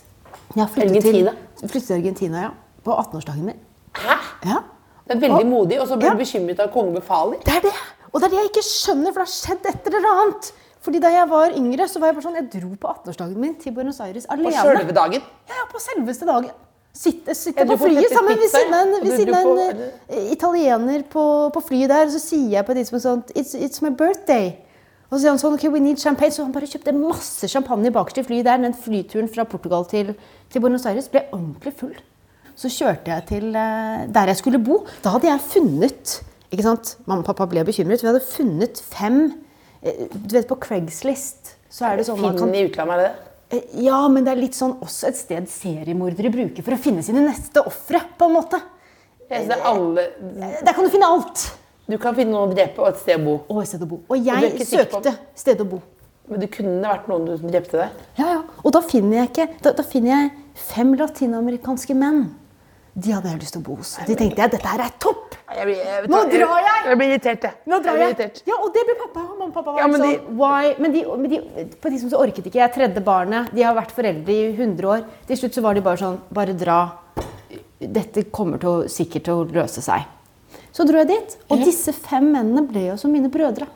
S5: Ja, flyttet
S7: Argentina.
S5: Til, flyttet til Argentina, ja. På 18-årsdagen min.
S7: Hæ?
S5: Ja.
S7: Det er veldig modig. Og så ble
S5: Ja.
S7: du bekymret av kongen befaler.
S5: Det er det! Og det er det jeg ikke skjønner, for det har skjedd et eller annet. Fordi da jeg var yngre, så var jeg bare sånn Jeg dro på 18-årsdagen min til Buenos Aires
S7: På
S5: alene.
S7: sjølve dagen.
S5: Ja, ja, på selveste dagen. Sitte, sitte
S7: Ja, du
S5: på
S7: får
S5: flyet
S7: pepper
S5: sammen ved
S7: pizza,
S5: siden av en,
S7: og
S5: ved
S7: du-
S5: siden
S7: du
S5: av
S7: får-
S5: en eh, italiener på, på flyet der, og så sier jeg på et tidspunkt sånn it's, it's my birthday. Og så sier han sånn OK, we need champagne. Så han bare kjøpte masse champagne bakerst i flyet der. Den flyturen fra Portugal til, til Buenos Aires ble ordentlig full. Så kjørte jeg til eh, der jeg skulle bo. Da hadde jeg funnet ikke sant? Mamma og pappa ble bekymret. Vi hadde funnet fem eh, Du vet, på Craigslist så er det sånn man kan
S7: Finn i utlandet, er det det?
S5: Eh, Ja, men det er litt sånn også et sted seriemordere bruker for å finne sine neste ofre, på en måte.
S7: Jeg synes det er alle,
S5: Eh, Der kan du finne alt!
S7: du kan finne noen å drepe og et sted å bo.
S5: Og et sted å bo. Og
S7: du er
S5: jeg
S7: ikke sikker på-
S5: søkte sted å bo.
S7: Men det kunne vært noen du- som drepte deg.
S5: Ja, ja. Og da finner jeg ikke Da, da finner jeg fem latinamerikanske menn. De hadde jeg lyst til å bo hos. De tenkte jeg, dette her er topp!
S7: Jeg blir- jeg-
S5: Nå drar jeg!
S7: Jeg blir irritert, jeg.
S5: Nå drar
S7: blir
S5: jeg.
S7: irritert.
S5: Ja, og det ble pappa. og Mamma og pappa var
S7: Ja, men
S5: sånn, why? Men, de, men de, på de som så orket ikke. Jeg er tredje barnet. De har vært foreldre i 100 år. Til slutt så var de bare sånn, bare dra. Dette kommer til å, sikkert til å løse seg. Så dro jeg dit, og disse fem mennene ble jo som mine brødre.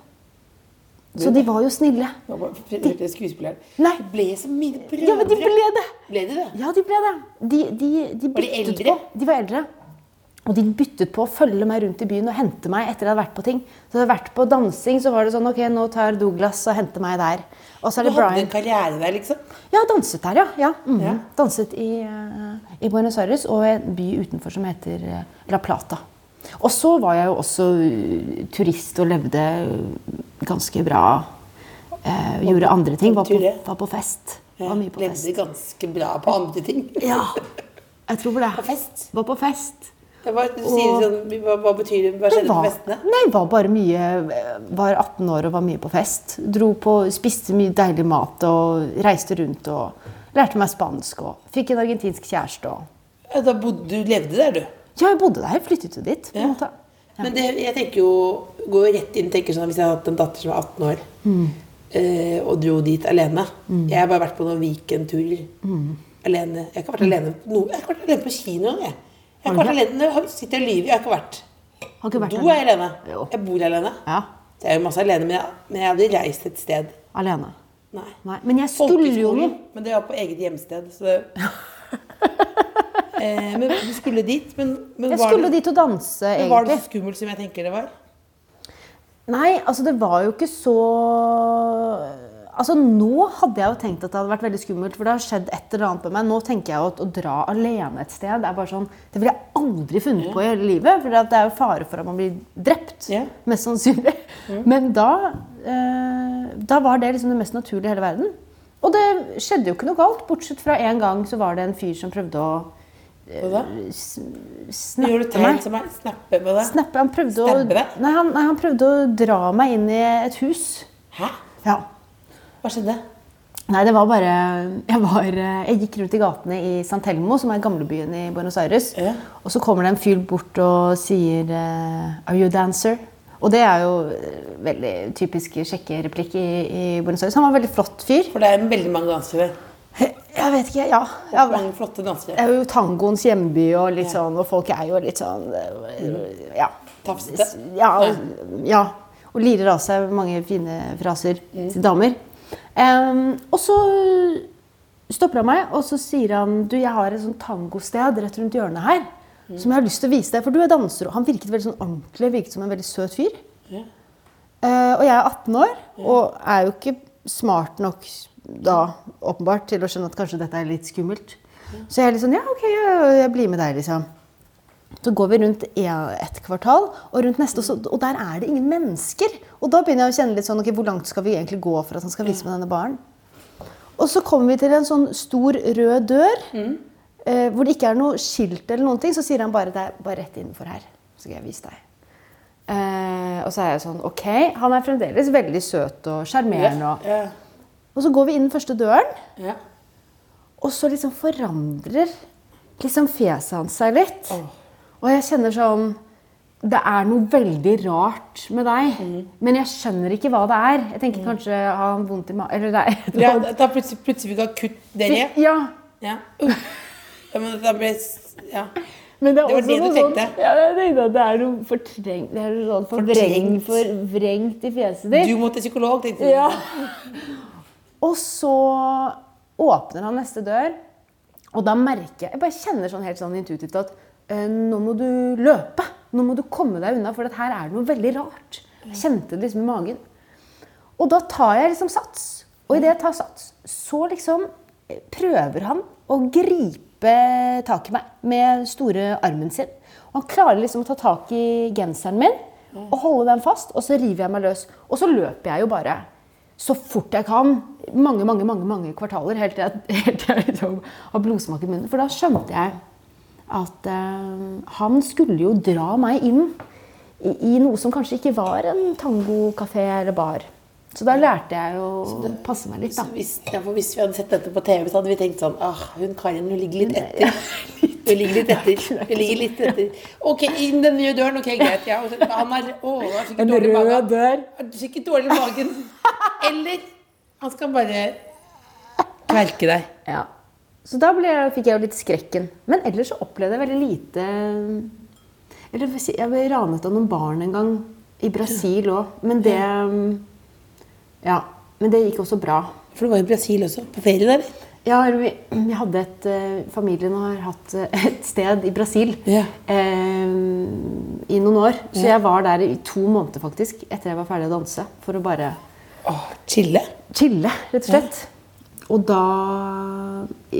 S5: Så de var jo snille.
S7: Nå bare hørte jeg skuespilleren.
S5: Nei.
S7: De ble som mine brødre.
S5: Ja, men de ble det!
S7: Ble de det?
S5: Ja, de ble det. De, de, de
S7: Var de
S5: byttet
S7: eldre?
S5: på. De var eldre. Og de byttet på å følge meg rundt i byen og hente meg etter jeg hadde vært på ting. Så jeg hadde vært på dansing, så var det sånn Ok, nå tar Douglas og henter meg der. Og så er
S7: Du
S5: det
S7: hadde
S5: Brian.
S7: en karriere der, liksom.
S5: Ja, danset der, ja. ja. mhm.
S7: Ja.
S5: Danset i, eh, i Buenos Aires og en by utenfor som heter eh, La Plata. Og så var jeg jo også eh, turist og levde eh, ganske bra. Eh, gjorde andre ting. Var på,
S7: turné.
S5: var på fest. Var mye på
S7: Levde
S5: fest.
S7: ganske bra på andre ting.
S5: Ja. Jeg tror det. På
S7: fest?
S5: Var på fest.
S7: Det var, du sier
S5: Og-
S7: sånn, hva, hva betyr det? Hva skjedde på
S5: var,
S7: festene?
S5: nei, var bare mye Var 18 år og var mye på fest. Dro på, spiste mye deilig mat og reiste rundt og lærte meg spansk og fikk en argentinsk kjæreste og
S7: Ja, Da bodde, du levde der, du.
S5: Ja, jeg bodde der. Jeg flyttet jo dit. på en
S7: Ja.
S5: måte.
S7: Men det, jeg tenker jo, går jo rett inn og tenker sånn at hvis jeg hadde hatt en datter som var 18 år,
S5: Mm.
S7: eh, og dro dit alene Jeg har bare vært på noen weekendturer
S5: Mm.
S7: alene. Jeg har ikke vært alene på noe. Jeg har ikke vært alene på kino engang. Jeg. jeg har ikke vært alene når jeg sitter og lyver. Jeg har ikke vært
S5: Har ikke vært
S7: Du
S5: alene.
S7: er alene.
S5: Jo.
S7: Jeg bor alene.
S5: Ja,
S7: Det er jo masse alene, men jeg, men jeg hadde reist et sted.
S5: alene.
S7: Nei.
S5: Nei, men jeg skulle jo
S7: Folkeskolen, Men det var på eget hjemsted, så det eh, Men du skulle dit, men, men
S5: Jeg
S7: var,
S5: skulle
S7: det,
S5: dit og danse,
S7: men var det
S5: egentlig.
S7: så skummelt som jeg tenker det var?
S5: Nei, altså det var jo ikke så Altså Nå hadde jeg jo tenkt at det hadde vært veldig skummelt, for det har skjedd et eller annet med meg. Nå tenker jeg jo at å dra alene et sted er bare sånn Det ville jeg aldri funnet på i hele livet. For det er jo fare for at man blir drept.
S7: Ja.
S5: Mest sannsynlig. Men da eh, Da var det liksom det mest naturlige i hele verden. Og det skjedde jo ikke noe galt, bortsett fra en gang så var det en fyr som prøvde å
S7: Hva da? Gjorde du
S5: snappe
S7: tegn
S5: meg.
S7: til meg? Snappe på deg?
S5: Snappe, han, prøvde å,
S7: Stabbe deg?
S5: nei, han, nei, han prøvde å dra meg inn i et hus.
S7: Hæ?
S5: Ja.
S7: Hva skjedde?
S5: Nei, det var bare jeg, var, jeg gikk rundt i gatene i San Telmo, som er gamlebyen i Buenos Aires.
S7: Ja.
S5: Og så kommer det en fyr bort og sier eh, 'Are you a dancer?' Og det er jo eh, veldig typisk sjekkereplikk i, i Buenos Aires. Han var en veldig flott fyr.
S7: For det er veldig mange dansere.
S5: Jeg vet ikke, ja. ja
S7: Mange flotte
S5: det
S7: dansere.
S5: er jo tangoens hjemby, og, litt sånn, og folk er jo litt sånn eh, Ja.
S7: Tafsete.
S5: Ja, og, ja. Og lirer av seg mange fine fraser til damer. Em, og så stopper han meg, og så sier han du, jeg har et sånt tangosted rett rundt hjørnet her. Som jeg har lyst til å vise deg, for du er danser. Og han virket veldig sånn ordentlig, virket som en veldig søt fyr. Eh, og jeg er 18 år, og er jo ikke smart nok da, åpenbart, til å skjønne at kanskje dette er litt skummelt. Så jeg er litt sånn, ja, ok, jeg, jeg blir med deg, liksom. Så går vi rundt e- ett kvartal, og rundt neste, og så- og der er det ingen mennesker. Og da begynner jeg å kjenne litt sånn, ok, hvor langt skal vi egentlig gå for at han skal vise meg denne baren? Og så kommer vi til en sånn stor rød dør, eh, hvor det ikke er noe skilt eller noen ting, så sier han bare, det er bare rett innenfor her, så skal jeg vise deg. Eh, og så er jeg sånn, ok, han er fremdeles veldig søt og sjarmerende. og-
S7: Ja.
S5: Og så går vi inn den første døren,
S7: Ja.
S5: og så liksom forandrer liksom fjeset hans seg litt. Og jeg kjenner sånn Det er noe veldig rart med deg,
S7: Mm.
S5: men jeg skjønner ikke hva det er. Jeg tenker kanskje har han vondt i magen Eller det er et
S7: Ja,
S5: eller annet.
S7: da plutselig, plutselig fikk han kutt der, ja.
S5: Ja.
S7: Ja. Uh. ja men da ble s- Ja.
S5: Men det, er
S7: Det var det
S5: også
S7: du
S5: noe sånn-
S7: tenkte?
S5: Ja, jeg tenkte at det er noe fortrengt Det er noe sånn
S7: Fortrengt.
S5: forvreng, forvrengt i fjeset ditt.
S7: Du må til psykolog, tenkte du.
S5: Ja. Og så åpner han neste dør, og da merker jeg Jeg bare kjenner sånn helt sånn intuitivt at eh, nå må du løpe. Nå må du komme deg unna, for at her er det noe veldig rart. Jeg kjente det liksom i magen. Og da tar jeg liksom sats. Og idet jeg tar sats, så liksom eh, prøver han å gripe tak i meg med store armen sin. Og han klarer liksom å ta tak i genseren min og holde den fast, og så river jeg meg løs. Og så løper jeg jo bare så fort jeg kan. Mange, mange, mange, mange kvartaler, helt til jeg, helt til jeg liksom har blodsmak i munnen. For da skjønte jeg at eh, han skulle jo dra meg inn i, i noe som kanskje ikke var en tangokafé eller bar. Så da lærte jeg jo å passe meg litt,
S7: Så
S5: da.
S7: Hvis, ja, for hvis vi hadde sett dette på TV, så hadde vi tenkt sånn ah, Hun Karin hun ligger litt etter. Hun ligger litt etter. Hun ligger litt etter. Ok, inn den nye døren. Ok, greit. Ja. Og så- Han har, å, han har sikkert
S5: En
S7: dårlig mage.
S5: rød dør.
S7: Han har Sikkert dårlig i magen. Eller han skal bare kverke deg.
S5: Ja. Så da ble, jeg- fikk jeg jo litt skrekken. Men ellers så opplevde jeg veldig lite Eller hva si- jeg ble ranet av noen barn en gang. I Brasil òg. Men det Ja. Men det gikk også bra.
S7: For du var i Brasil også, på ferie der.
S5: Ja, eller vi, vi hadde et, eh, familien har hatt eh, et sted i Brasil
S7: Ja.
S5: eh, i noen år. Så jeg var der i to måneder faktisk, etter jeg var ferdig å danse. For å bare
S7: Åh, chille.
S5: chille, rett og slett. Og da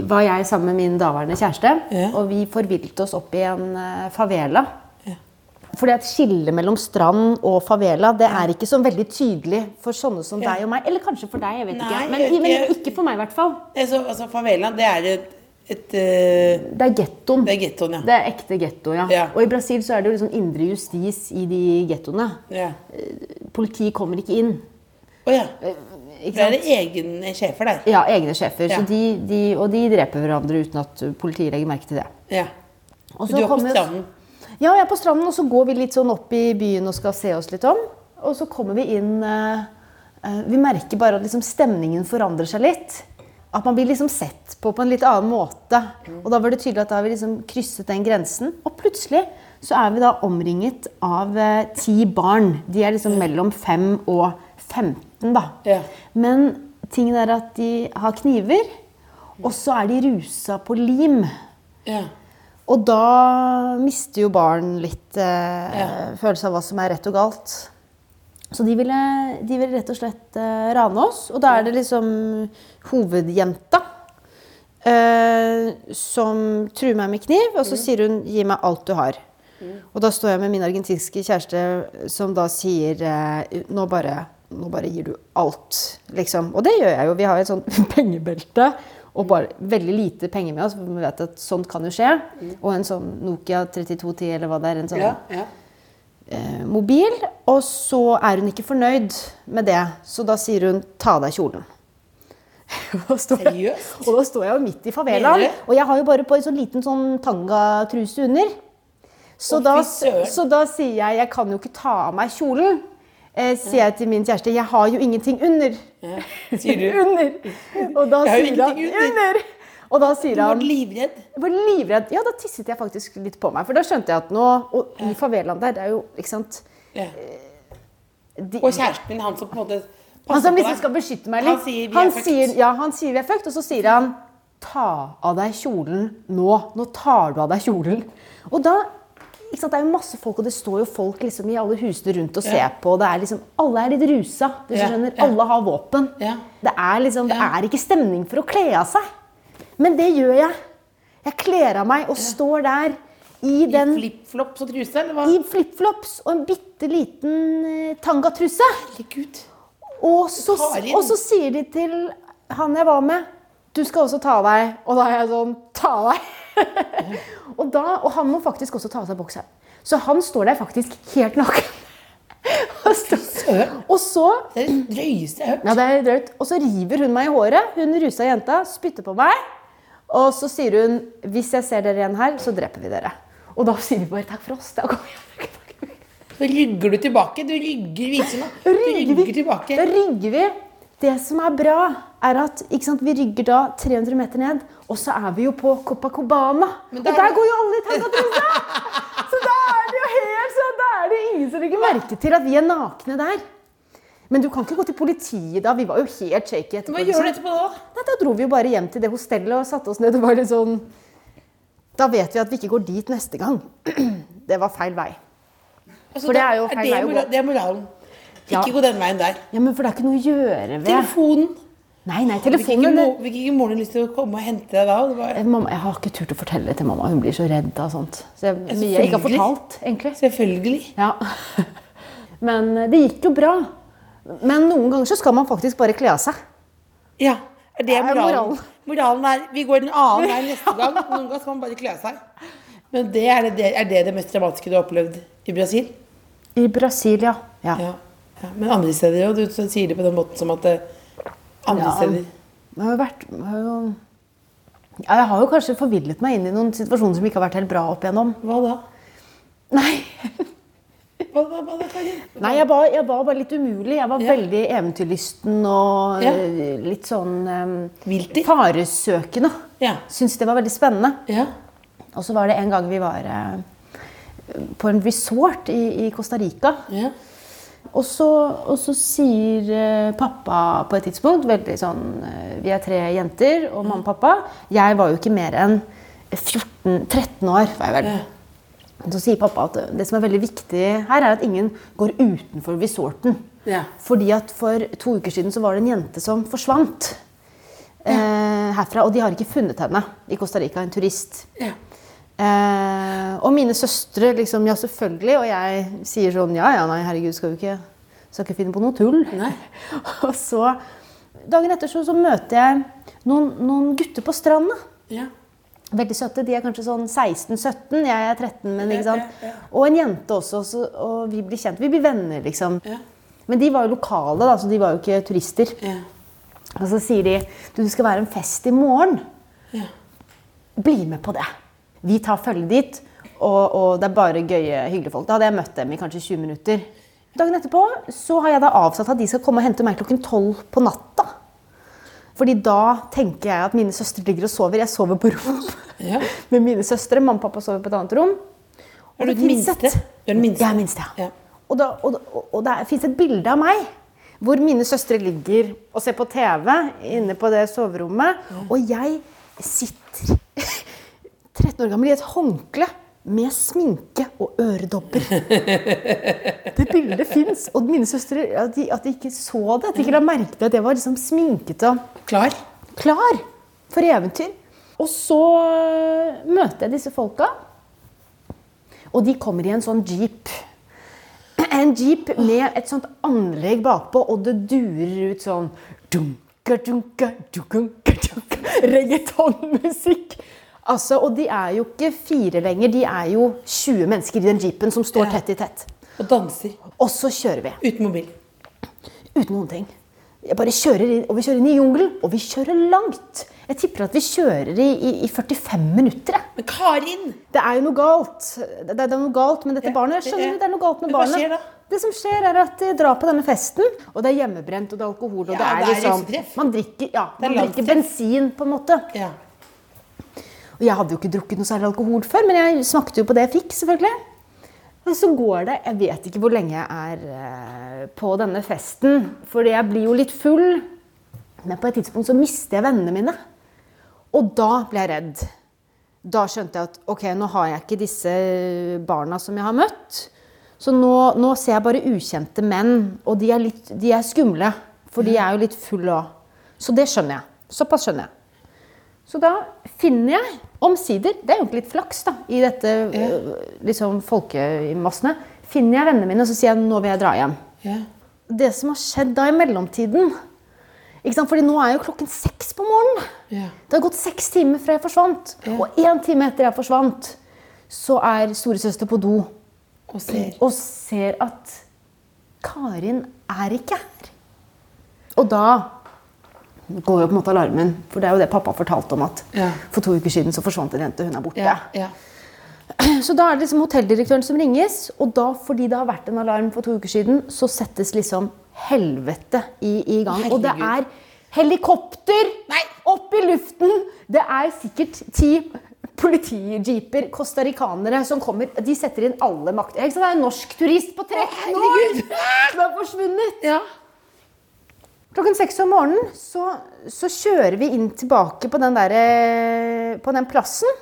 S5: var jeg sammen med min daværende kjæreste,
S7: Ja.
S5: og vi forvilte oss opp i en eh, favela. Fordi at skillet mellom strand og favela det er ikke så veldig tydelig for sånne som deg og meg. Eller kanskje for deg, jeg vet
S7: Nei,
S5: ikke. Men,
S7: jeg-
S5: men
S7: jeg-
S5: ikke for meg, i hvert fall.
S7: Det er så, altså, favelaen, det er et, et eh,
S5: Det er gettoen.
S7: Det er gettoen, ja.
S5: Det er ekte getto, ja.
S7: Ja.
S5: Og i Brasil så er det jo liksom indre justis i de gettoene.
S7: ja.
S5: Politiet kommer ikke inn.
S7: Å ja.
S5: Eh, Ikke
S7: For det er
S5: sant?
S7: det egne sjefer der.
S5: Ja, egne sjefer.
S7: Ja.
S5: Så de, de, og de dreper hverandre uten at politiet legger merke til det.
S7: Ja.
S5: Og
S7: Du er på
S5: kommer-
S7: stranden.
S5: Ja, jeg er på stranden, og så går vi litt sånn opp i byen og skal se oss litt om. Og så kommer vi inn eh, eh, Vi merker bare at liksom stemningen forandrer seg litt. At man blir liksom sett på på en litt annen måte. Og da var det tydelig at da har vi liksom krysset den grensen. Og plutselig så er vi da omringet av eh, ti barn. De er liksom mellom fem og 15, da.
S7: Ja.
S5: Men tingen er at de har kniver, og så er de rusa på lim.
S7: Ja.
S5: Og da mister jo barn litt eh,
S7: Ja.
S5: følelse av hva som er rett og galt. Så de ville, de ville rett og slett eh, rane oss. Og da er det liksom hovedjenta eh, som truer meg med kniv, og så sier hun 'gi meg alt du har'. Og da står jeg med min argentinske kjæreste som da sier eh, nå bare, 'nå bare gir du alt', liksom. Og det gjør jeg jo. Vi har et sånt pengebelte og bare veldig lite penger med oss, for vi vet at sånt kan jo skje. Og en sånn Nokia 3210 eller hva det er. en sånn
S7: Ja, ja.
S5: eh, mobil, og så er hun ikke fornøyd med det. Så da sier hun 'ta av deg kjolen'. Og da står jeg, og da står jeg jo midt i favelaen, og jeg har jo bare på en sånn liten sånn tangatruse under. Så da, så da sier jeg 'jeg kan jo ikke ta av meg kjolen'. Eh, sier jeg til min kjæreste 'jeg har jo ingenting under'. Sier du? under. Og da
S7: har jo
S5: sier han
S7: ingenting under.
S5: 'under'. Og da sier han
S7: livredd.
S5: jeg var livredd. Ja, da tisset jeg faktisk litt på meg. For da skjønte jeg at nå Og i favelaen der, det er jo Ikke sant? Eh,
S7: Ja.
S5: De,
S7: Og kjæresten min, han som på en måte
S5: han
S7: passer
S5: som
S7: på
S5: liksom
S7: deg.
S5: skal beskytte meg
S7: Han
S5: litt.
S7: sier vi er
S5: Han
S7: fucked.
S5: sier, ja, han sier vi er fucked, og så sier han Ta av deg kjolen nå. Nå tar du av deg kjolen. Og da ikke sant, Det er jo masse folk, og det står jo folk liksom i alle husene rundt og ser på. og det er liksom, Alle er litt rusa. hvis du
S7: Ja,
S5: skjønner,
S7: ja.
S5: Alle har våpen.
S7: Ja.
S5: Det er liksom, det
S7: Ja.
S5: er ikke stemning for å kle av seg. Men det gjør jeg. Jeg kler av meg og står der i den
S7: Flip-flops og truse, eller hva?
S5: i flipflops og en bitte liten eh, tangatruse.
S7: Herregud.
S5: Og så,
S7: Karin.
S5: og så sier de til han jeg var med, du skal også ta av deg. Og da er jeg sånn, ta av deg. og, da, og han må faktisk også ta av seg bokseren. Så han står der faktisk helt naken. Han står- og så
S7: Det er det drøyeste jeg har hørt.
S5: ja, det er drøyt. Og så river hun meg i håret. Hun rusa jenta spytter på meg. Og så sier hun 'hvis jeg ser dere igjen her, så dreper vi dere'. Og da sier vi bare 'takk for oss'. Da kommer jeg.
S7: Så rygger du tilbake. Du rygger viser nå. Du rygger tilbake.
S5: Da rygger vi. Det som er bra, er at ikke sant, vi rygger da 300 meter ned, og så er vi jo på Copacabana.
S7: der-
S5: og der går jo alle i tangatrusa! så da er det jo helt sånn, da er det ingen som legger merke til at vi er nakne der. Men du kan ikke gå til politiet da. Vi var jo helt shaky etterpå.
S7: Hva
S5: liksom.
S7: gjør du etterpå da?
S5: Nei, da dro vi jo bare hjem til det hostellet og satte oss ned. Det var litt sånn Da vet vi at vi ikke går dit neste gang. Det var feil vei.
S7: Altså,
S5: For det
S7: da
S5: er jo feil
S7: det
S5: vei å
S7: mora-
S5: gå.
S7: Det er moralen.
S5: Ja.
S7: Ikke gå den veien der.
S5: Ja, men for det er ikke noe å gjøre ved.
S7: Telefonen.
S5: Nei, nei,
S7: Fikk ikke,
S5: telefonen
S7: mo- fikk ikke moren din lyst til å komme og hente deg da? Det var,
S5: Eh, Mamma, jeg har ikke turt å fortelle det til mamma. Hun blir så redd av sånt. Så jeg, mye jeg ikke har
S7: selvfølgelig.
S5: fortalt, egentlig.
S7: selvfølgelig.
S5: Ja. Men eh, det gikk jo bra. Men noen ganger så skal man faktisk bare kle av seg.
S7: Ja. Er det
S5: er
S7: moralen?
S5: moralen.
S7: Moralen er vi går en annen vei neste gang. Noen ganger skal man bare kle av seg. Men det er, det, er det det mest dramatiske du har opplevd i Brasil?
S5: I Brasil, ja. Ja.
S7: Ja. ja. Men andre steder jo, Du sier det på den måten som at eh, andre
S5: Ja.
S7: steder
S5: Jeg har jo vært jeg har jo... Ja, jeg har jo kanskje forvillet meg inn i noen situasjoner som ikke har vært helt bra opp igjennom.
S7: Hva da?
S5: Nei,
S7: Hva, hva, hva da, Karin?
S5: Nei jeg, var, jeg var bare litt umulig. Jeg var veldig eventyrlysten og
S7: Ja.
S5: eh, litt sånn eh,
S7: Vilter.
S5: faresøkende.
S7: Ja.
S5: Syntes det var veldig spennende.
S7: Ja.
S5: Og så var det en gang vi var eh, på en resort i, i Costa Rica.
S7: ja.
S5: Og så, og så sier eh, pappa på et tidspunkt veldig sånn, eh, Vi er tre jenter og
S7: Mm.
S5: mamma og pappa. Jeg var jo ikke mer enn 14-13 år. var jeg vel. Og Så sier pappa at det som er veldig viktig her, er at ingen går utenfor resorten.
S7: Ja.
S5: Fordi at for to uker siden så var det en jente som forsvant eh, herfra. Og de har ikke funnet henne i Costa Rica, en turist.
S7: Ja.
S5: Eh, og mine søstre liksom, ja selvfølgelig, og jeg sier sånn ja ja, nei herregud, skal vi ikke, skal ikke finne på noe tull. og så, dagen etter så, så møter jeg noen, noen gutter på stranda.
S7: Ja.
S5: Veldig søte. De er kanskje sånn 16-17, jeg er 13, men ikke sant. Og en jente også, så, og vi blir kjent. Vi blir venner, liksom.
S7: Ja.
S5: Men de var jo lokale, da, så de var jo ikke turister.
S7: Ja.
S5: Og så sier de du, det skal være en fest i morgen.
S7: Ja.
S5: Bli med på det. Vi tar følge dit, og, og det er bare gøye, hyggelige folk. Da hadde jeg møtt dem i kanskje 20 minutter. Dagen etterpå så har jeg da avsatt at de skal komme og hente meg klokken 12 på natta. Fordi da tenker jeg at mine søstre ligger og sover. Jeg sover på rom
S7: Ja.
S5: med mine søstre. Mamma og pappa sover på et annet rom. Og
S7: Er du
S5: det
S7: den
S5: finnes et-
S7: minste? Du er den minste.
S5: Jeg er minst, ja.
S7: Ja.
S5: Og, da, og, og, og det fins et bilde av meg hvor mine søstre ligger og ser på TV inne på det soverommet, og jeg sitter 13 år gammel i et håndkle med sminke og øredobber. Det bildet fins, og mine søstre at de, at de ikke så det. At de ikke la merke til at jeg var liksom sminket og
S4: Klar.
S5: klar for eventyr. Og så eh, møter jeg disse folka, og de kommer i en sånn jeep. En jeep med et sånt anlegg bakpå, og det durer ut sånn dunka, dunka, dunka, dunka, Reggaetonmusikk. Altså, og de er jo ikke fire lenger, de er jo 20 mennesker i den jeepen som står
S4: Ja.
S5: tett i tett.
S4: Og danser.
S5: Og så kjører vi
S4: Uten mobil.
S5: uten noen ting. Jeg bare kjører inn, og vi kjører inn i jungelen, og vi kjører langt. Jeg tipper at vi kjører i, i, i 45 minutter. jeg.
S4: Men Karin!
S5: Det er jo noe galt. Det, det er noe galt med dette
S4: Ja,
S5: barnet. Jeg
S4: ja.
S5: skjønner det er noe galt med
S4: Men hva
S5: barnet.
S4: skjer da?
S5: Det som skjer, er at de drar på denne festen, og det er hjemmebrent, og det er alkohol, og
S4: Ja,
S5: det er
S4: det er
S5: liksom
S4: russetreff.
S5: Man drikker, ja,
S4: er
S5: man drikker
S4: landstreff.
S5: bensin, på en måte.
S4: Ja.
S5: Og jeg hadde jo ikke drukket noe særlig alkohol før, men jeg smakte jo på det jeg fikk, selvfølgelig. Men så går det Jeg vet ikke hvor lenge jeg er eh, på denne festen, for jeg blir jo litt full. Men på et tidspunkt så mister jeg vennene mine. Og da ble jeg redd. Da skjønte jeg at ok, nå har jeg ikke disse barna som jeg har møtt. Så nå, nå ser jeg bare ukjente menn, og de er, litt, de er skumle. For de er jo litt fulle òg. Så det skjønner jeg. Såpass skjønner jeg. Så da finner jeg omsider Det er jo egentlig litt flaks da, i dette øh, liksom, folkemassene. Finner jeg vennene mine og så sier jeg, nå vil jeg dra hjem.
S4: ja.
S5: Det som har skjedd da i mellomtiden ikke sant? Fordi nå er jo klokken seks på morgenen.
S4: Ja.
S5: Det har gått seks timer fra jeg forsvant. Og én time etter jeg forsvant, så er storesøster på do
S4: Og ser.
S5: og ser at Karin er ikke her. Og da går jo på en måte alarmen, for det er jo det pappa fortalte om at
S4: Ja.
S5: for to uker siden så forsvant en jente, hun er borte.
S4: Ja. ja.
S5: Så da er det liksom hotelldirektøren som ringes, og da, fordi det har vært en alarm for to uker siden, så settes liksom helvete i, i gang. Og det er
S4: Herregud.
S5: helikopter opp i luften! Det er sikkert ti politijeeper, costaricanere, som kommer. De setter inn alle makter. Ikke sant? Det er en norsk turist på 13 år som er forsvunnet! Klokken seks om morgenen så, så kjører vi inn tilbake på den, der, på den plassen.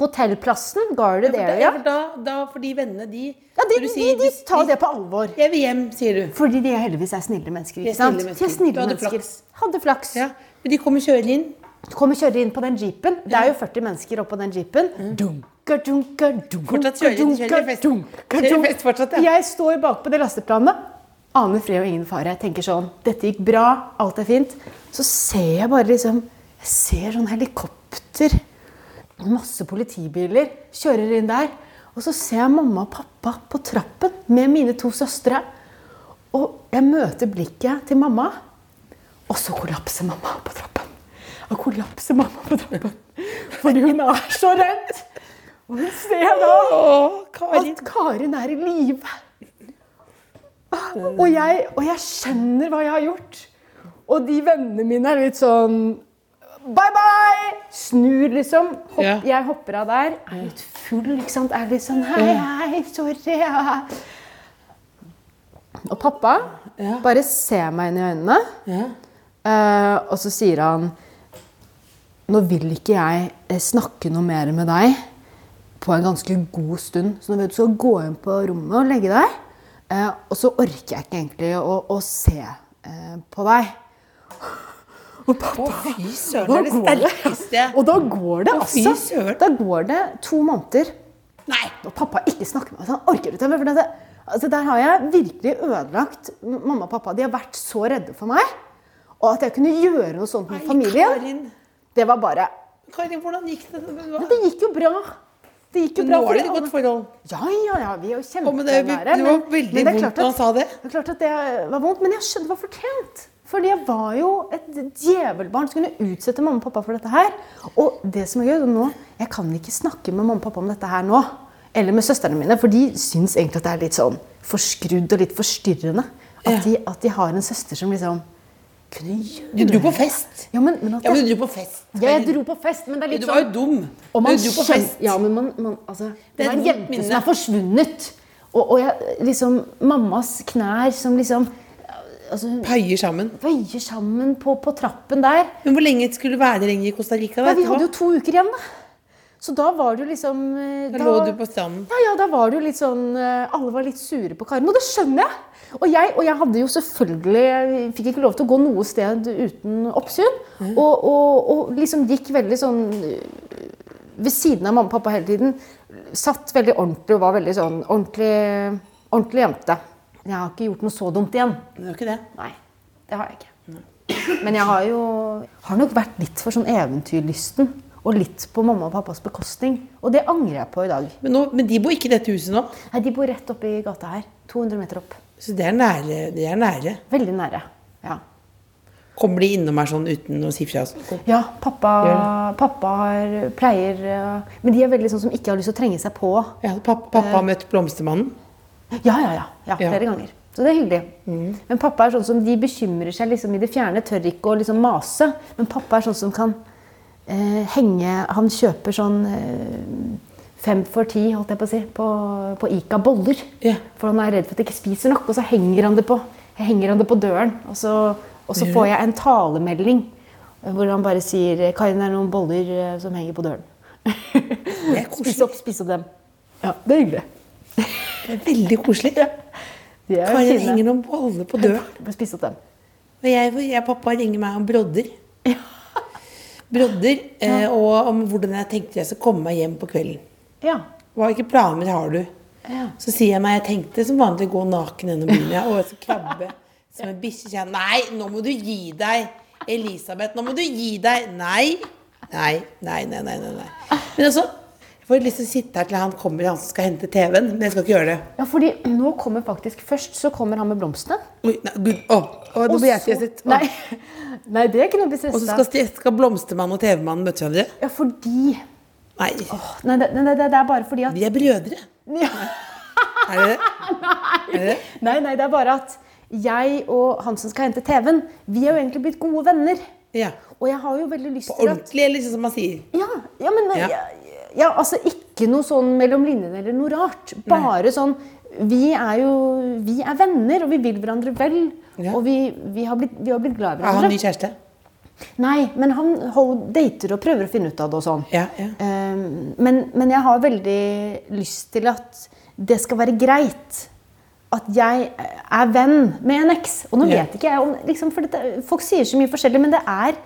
S5: Hotellplassen, Guarded
S4: Da,
S5: Area.
S4: da, da, fordi vennene, de
S5: Ja, de,
S4: når
S5: de,
S4: du sier-
S5: de
S4: du-
S5: tar det på alvor.
S4: Jeg vil hjem, sier du.
S5: Fordi de heldigvis er snille mennesker.
S4: De er
S5: ikke sant?
S4: snille
S5: De
S4: mennesker.
S5: er snille
S4: Du hadde
S5: mennesker.
S4: flaks.
S5: Hadde flaks.
S4: Ja. Men de kommer kjørende inn.
S5: Kommer kjører inn på den jeepen. Det er jo 40 mennesker oppå den jeepen. Dunka, dunka, dunka,
S4: Mm. Fortsatt kjører de, kjører de fest. Kjører de fest fortsatt, ja.
S5: Jeg står bak på det lasteplanet. Aner fred og ingen fare. Jeg tenker sånn Dette gikk bra. Alt er fint. Så ser jeg bare liksom Jeg ser sånn helikopter. Masse politibiler kjører inn der. Og så ser jeg mamma og pappa på trappen med mine to søstre. Og jeg møter blikket til mamma, og så kollapser mamma på trappen. Og kollapser mamma på trappen. Fordi hun er så redd. Og hun ser da
S4: Å, Karin.
S5: at Karin er i live. Og jeg, og jeg skjønner hva jeg har gjort. Og de vennene mine er litt sånn Bye, bye! Snur, liksom. Hopp,
S4: Ja.
S5: Jeg hopper av der. Er litt full, ikke sant. Er litt sånn Hei, hei, sorry. ja». Og pappa
S4: Ja.
S5: bare ser meg inn i øynene,
S4: Ja.
S5: eh, og så sier han Nå vil ikke jeg eh, snakke noe mer med deg på en ganske god stund. Så nå vet du skal gå inn på rommet og legge deg. Eh, og så orker jeg ikke egentlig å, å se eh, på deg. Og pappa
S4: Fy søren, det er det sterkeste.
S5: Og da går det,
S4: Å, fy
S5: altså.
S4: søren.
S5: Da går det to måneder
S4: Nei.
S5: og pappa ikke snakker med meg. Han orker ikke. For det, altså, der har jeg virkelig ødelagt m- mamma og pappa. De har vært så redde for meg. Og at jeg kunne gjøre noe sånt med
S4: Nei,
S5: familien,
S4: Karin.
S5: det var bare
S4: Karin, hvordan gikk det? Hva?
S5: Men det gikk jo bra. Det gikk jo
S4: Men
S5: bra.
S4: nå
S5: for
S4: er det
S5: de
S4: et
S5: alle-
S4: godt forhold.
S5: Ja, ja, ja. Vi er jo
S4: Å, men det er jo-
S5: kjempenære.
S4: det var veldig vondt når han sa det.
S5: Det er klart at det var vondt, men jeg skjønner det var fortjent. Fordi jeg var jo et djevelbarn som kunne utsette mamma og pappa for dette her. Og det som er gøy, nå, jeg kan ikke snakke med mamma og pappa om dette her nå. Eller med søstrene mine, for de syns egentlig at det er litt sånn forskrudd og litt forstyrrende. At, de, at de har en søster som liksom kunne
S4: Du
S5: gjøre
S4: dro på fest.
S5: Ja, men, men at
S4: Ja, men
S5: jeg,
S4: du dro på fest.
S5: ja, jeg dro på fest, men det er
S4: Du
S5: litt
S4: var jo
S5: sånn
S4: dum.
S5: og man
S4: du dro på
S5: skjøn-
S4: fest.
S5: Ja, men man, man altså,
S4: Det
S5: det
S4: er
S5: var en
S4: et
S5: jente
S4: minne.
S5: som er forsvunnet. Og, og jeg, liksom, mammas knær som liksom altså, hun
S4: Paier sammen.
S5: veier sammen på, på trappen der.
S4: Men hvor lenge skulle du være lenger i Costa Rica? da,
S5: Ja, vi
S4: etterpå?
S5: hadde jo to uker igjen, da. Så da var det jo liksom eh,
S7: Da lå du på stranden.
S5: ja, ja, da var det jo litt sånn eh, Alle var litt sure på Karin, og det skjønner jeg! Og jeg, og jeg hadde jo selvfølgelig jeg Fikk ikke lov til å gå noe sted uten oppsyn. Og, og, og liksom gikk veldig sånn eh, ved siden av mamma og pappa hele tiden. Satt veldig ordentlig og var veldig sånn ordentlig, ordentlig jente. Jeg har ikke gjort noe så dumt igjen.
S7: Det var ikke det.
S5: Nei, det har jeg ikke. Men jeg har jo har nok vært litt for sånn eventyrlysten. Og litt på mamma og pappas bekostning. Og det angrer jeg på i dag.
S7: Men, nå, men de bor ikke i dette huset nå.
S5: Nei, De bor rett oppi gata her. 200 meter opp.
S7: Så det er nære. Det er nære.
S5: Veldig nære. Ja,
S7: Kommer de innom her sånn uten å si fra? sånn?
S5: ja pappa, pappa har, pleier eh, Men de er veldig sånn som ikke har lyst til å trenge seg på.
S7: Ja, pappa, pappa
S5: Eh.
S7: har møtt blomstermannen.
S5: Ja, ja, ja. ja
S7: Ja.
S5: flere ganger. Så det er hyggelig. Men pappa er sånn som de bekymrer seg liksom i det fjerne, tør ikke å liksom mase. Men pappa er sånn som kan eh, henge Han kjøper sånn eh, fem for ti, holdt jeg på å si, på, på Ica boller.
S7: Ja.
S5: For han er redd for at jeg ikke spiser nok, og så henger han det på, henger han det på døren. Og så, og så får jeg en talemelding eh, hvor han bare sier Karin, det er noen boller eh, som henger på døren.
S7: koselig.
S5: spis opp, spis opp dem. Ja, det er hyggelig.
S7: Det er veldig koselig.
S5: De er
S7: Karin
S5: fine.
S7: henger noen boller på døren.
S5: Bare spis opp dem.
S7: Og jeg, jeg og pappa ringer meg om brodder. Brodder, eh, og om hvordan jeg tenkte jeg skulle komme meg hjem på kvelden.
S5: Ja.
S7: Hva Hvilke planer har du?
S5: Ja.
S7: Så sier jeg meg jeg tenkte som vanlig å gå naken gjennom byen. jeg, Og så krabbe som en bikkje. sier jeg, Nei, nå må du gi deg! Elisabeth, nå må du gi deg! Nei! Nei, nei, nei, nei. nei, nei. Men altså, jeg får lyst til å sitte her til han kommer, han som skal hente TV-en. Men jeg skal ikke gjøre det.
S5: Ja, fordi nå kommer faktisk Først så kommer han med blomstene.
S7: Oi, nei, gud, å, å, nå blir jeg stresset. Å.
S5: Nei. Nei, det er ikke noe å bli
S7: Og så
S5: stressa
S7: skal, stre- skal blomstermannen og TV-mannen møte hverandre?
S5: Ja, fordi
S7: Nei,
S5: Nei, det, nei, det, det er bare fordi at
S7: vi er brødre.
S5: ja.
S7: Er det det? Er det det?
S5: Nei, nei, det er bare at jeg og han som skal hente TV-en, vi er jo egentlig blitt gode venner.
S7: Ja.
S5: Og jeg har jo veldig lyst til at
S7: Ordentlig, liksom, som man sier.
S5: Ja, ja men
S7: Ja.
S5: ja. Ja, altså ikke noe sånn mellom linjene eller noe rart. Bare sånn Vi er jo Vi er venner, og vi vil hverandre vel.
S7: Ja.
S5: Og vi, vi, har blitt, vi har blitt glad i
S7: Har
S5: hverandre.
S7: han ny kjæreste?
S5: Nei, men han hold, dater og prøver å finne ut av det og sånn.
S7: Ja, ja.
S5: Ehm, men, men jeg har veldig lyst til at det skal være greit at jeg er venn med en eks. Og nå
S7: Ja.
S5: vet ikke jeg om liksom, for dette, Folk sier så mye forskjellig, men det er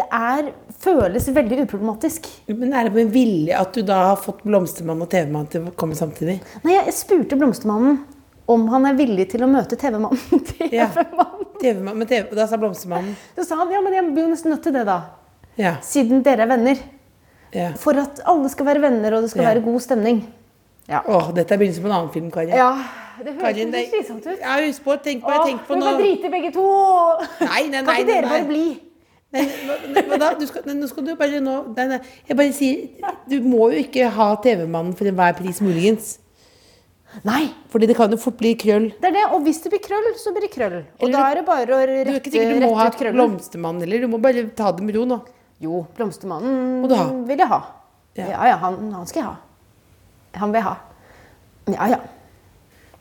S5: det er, føles veldig uproblematisk.
S7: Men er det med vilje at du da har fått blomstermann og TV-mann til å komme samtidig?
S5: Nei, jeg spurte Blomstermannen om han er villig til å møte TV-mannen.
S7: Ja.
S5: TV-mannen.
S7: TV-mann, men TV, og da sa blomstermannen
S5: Så sa han ja, men jeg blir jo nesten nødt til det, da.
S7: ja,
S5: Siden dere er venner.
S7: ja.
S5: For at alle skal være venner, og det skal
S7: Ja.
S5: være god stemning.
S7: Åh, dette er begynnelsen på en annen film, Karin.
S5: Ja, det høres
S7: Karin,
S5: litt
S7: det,
S5: slitsomt ut.
S7: ja, husk på, tenk på,
S5: Åh,
S7: tenk på
S5: men
S7: nå.
S5: bare drite begge to!
S7: Nei, nei,
S5: kan
S7: nei,
S5: ikke dere
S7: nei, nei.
S5: bare bli?
S7: Nei, hva- hva da? Du skal, nei, nå skal du bare nå nei, nei. Jeg bare sier, du må jo ikke ha TV-mannen for enhver pris, muligens.
S5: Nei,
S7: Fordi det kan jo fort bli krøll.
S5: det er det. Og hvis det blir krøll, så blir det krøll. Og
S7: Eller-
S5: da er det bare å
S7: Du er
S5: rette,
S7: ikke sikkert du må
S5: rette
S7: ha
S5: ut krøllen.
S7: blomstermann heller. Du må bare ta det med ro nå.
S5: Jo, blomstermannen
S7: Må du ha.
S5: Mm, vil jeg ha.
S7: Ja.
S5: Ja, ja, han, han skal jeg ha. Han vil jeg ha. Ja, ja.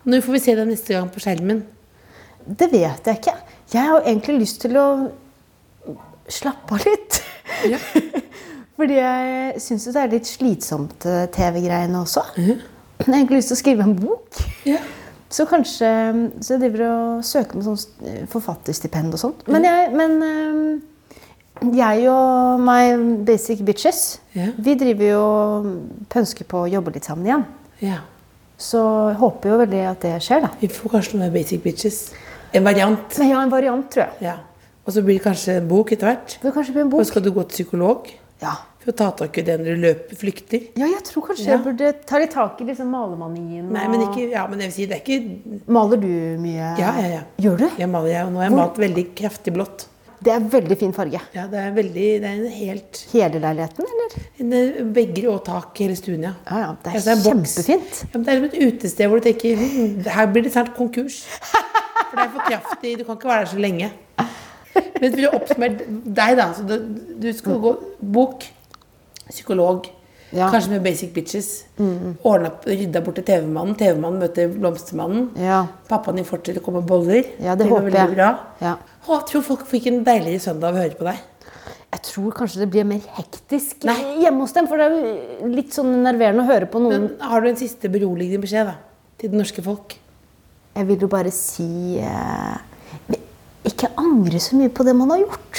S7: Nå får vi se deg neste gang på skjermen.
S5: Det vet jeg ikke. Jeg har jo egentlig lyst til å slappe av litt. Fordi jeg syns jo det er litt slitsomt, eh, TV-greiene også. Jeg har egentlig lyst til å skrive en bok. Så kanskje Så jeg driver og søker med sånn eh, forfatterstipend og sånt. Men jeg, men eh, jeg og my basic bitches,
S7: Ja.
S5: vi driver jo og pønsker på å jobbe litt sammen igjen.
S7: Ja.
S5: Så jeg håper jo veldig at det skjer, da.
S7: Vi får kanskje noe mer basic bitches. En variant.
S5: Men ja, en variant, tror jeg.
S7: Ja. Og så blir det kanskje en bok etter hvert.
S5: Det kanskje blir en
S7: Og
S5: bok.
S7: så skal du gå til psykolog
S5: Ja.
S7: for å ta tak i det når du løper, flykter.
S5: ja, jeg tror kanskje
S7: Ja.
S5: jeg burde ta litt tak i liksom malemanien. og-
S7: Nei, men ikke Ja, men jeg vil si, det er ikke
S5: Maler du mye?
S7: Ja, ja, ja.
S5: Gjør du?
S7: Jeg maler, jeg, og nå har jeg malt veldig kraftig blått.
S5: Det er veldig fin farge.
S7: Ja, det er veldig Det er en helt
S5: Hele leiligheten, eller?
S7: en, eh, Vegger og tak i hele stuen, ja.
S5: Ja, ja, det er
S7: Ja, så en boks.
S5: kjempefint.
S7: Ja, men det er som et utested hvor du tenker hm, Her blir det snart konkurs. For det er for kraftig. Du kan ikke være der så lenge. Men for å oppsummere deg, da. Så det, du skal gå bok, psykolog,
S5: Ja. Mm.
S7: kanskje med basic bitches. Ordne opp, rydda bort til TV-mannen. TV-mannen møter blomstermannen.
S5: Ja.
S7: Pappaen din fortsetter å komme med boller.
S5: Ja, det
S7: var
S5: håper
S7: veldig
S5: jeg.
S7: Bra.
S5: Ja.
S7: Å, jeg tror folk fikk en deiligere søndag av å høre på deg.
S5: Jeg Jeg tror kanskje det blir mer hektisk hjemme hos dem. For det er jo litt sånn nerverende å høre på noen
S7: Men har du en siste beroligende beskjed da, til det norske folk?
S5: Jeg vil jo bare si eh, Ikke angre så mye på det man har gjort.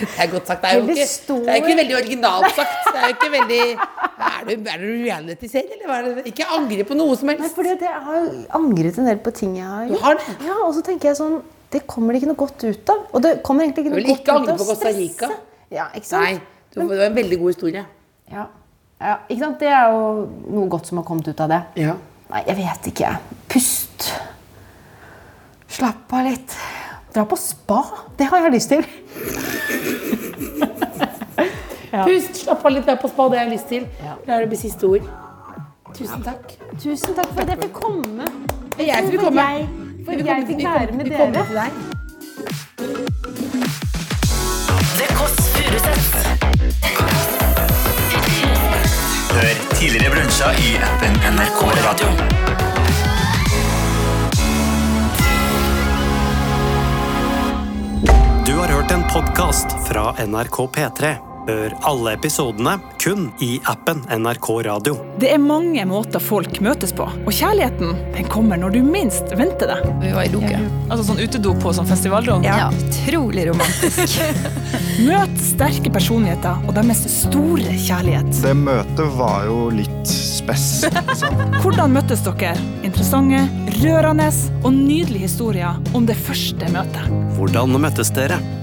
S7: Det er godt sagt. Det er jo
S5: Veldig
S7: ikke,
S5: stor-
S7: det er jo ikke veldig originalt sagt. Det er jo ikke veldig Er du, er du reality-serie, eller hva er det? Ikke angre på noe som
S5: Nei,
S7: helst.
S5: fordi at jeg har angret en del på ting jeg har gjort.
S7: har det?
S5: Ja, Og så tenker jeg sånn Det kommer det ikke noe godt ut av. Og det kommer egentlig ikke
S7: Du
S5: noe
S7: vil
S5: godt
S7: ikke
S5: ut
S7: angre
S5: av
S7: på
S5: å
S7: Costa Rica?
S5: stresse. Ja, ikke sant?
S7: Nei, du- det var en veldig god historie.
S5: Ja. ja, ikke sant? Det er jo noe godt som har kommet ut av det.
S7: Ja.
S5: Nei, jeg vet ikke. Pust. Slapp av litt. Dra på spa. Det har jeg lyst til.
S7: Pust, slapp av litt, vær på spa, det har jeg lyst til. Det er det siste ord. Tusen takk.
S5: Tusen takk for at jeg fikk komme.
S7: Jeg skulle komme. For vi
S5: jeg
S7: kommer-
S5: fikk
S7: vi kommer-
S5: være med
S7: vi kommer
S5: dere.
S7: til deg.
S3: Det Kåss Furuseths.
S8: Hør tidligere brunsja i appen NRK Radio.
S1: Du har hørt en podkast fra NRK P3. Hør alle episodene kun i appen NRK Radio.
S9: Det er mange måter folk møtes på, og kjærligheten den kommer når du minst venter det. Vi var i doke. Altså sånn utedo på sånn festivaldom. Ja.
S10: Utrolig romantisk.
S9: Møt sterke personligheter og deres store kjærlighet.
S8: Det møtet var jo litt liksom. spess.
S9: Hvordan møttes dere? Interessante, rørende og nydelige historier om det første møtet.
S1: Hvordan møttes dere?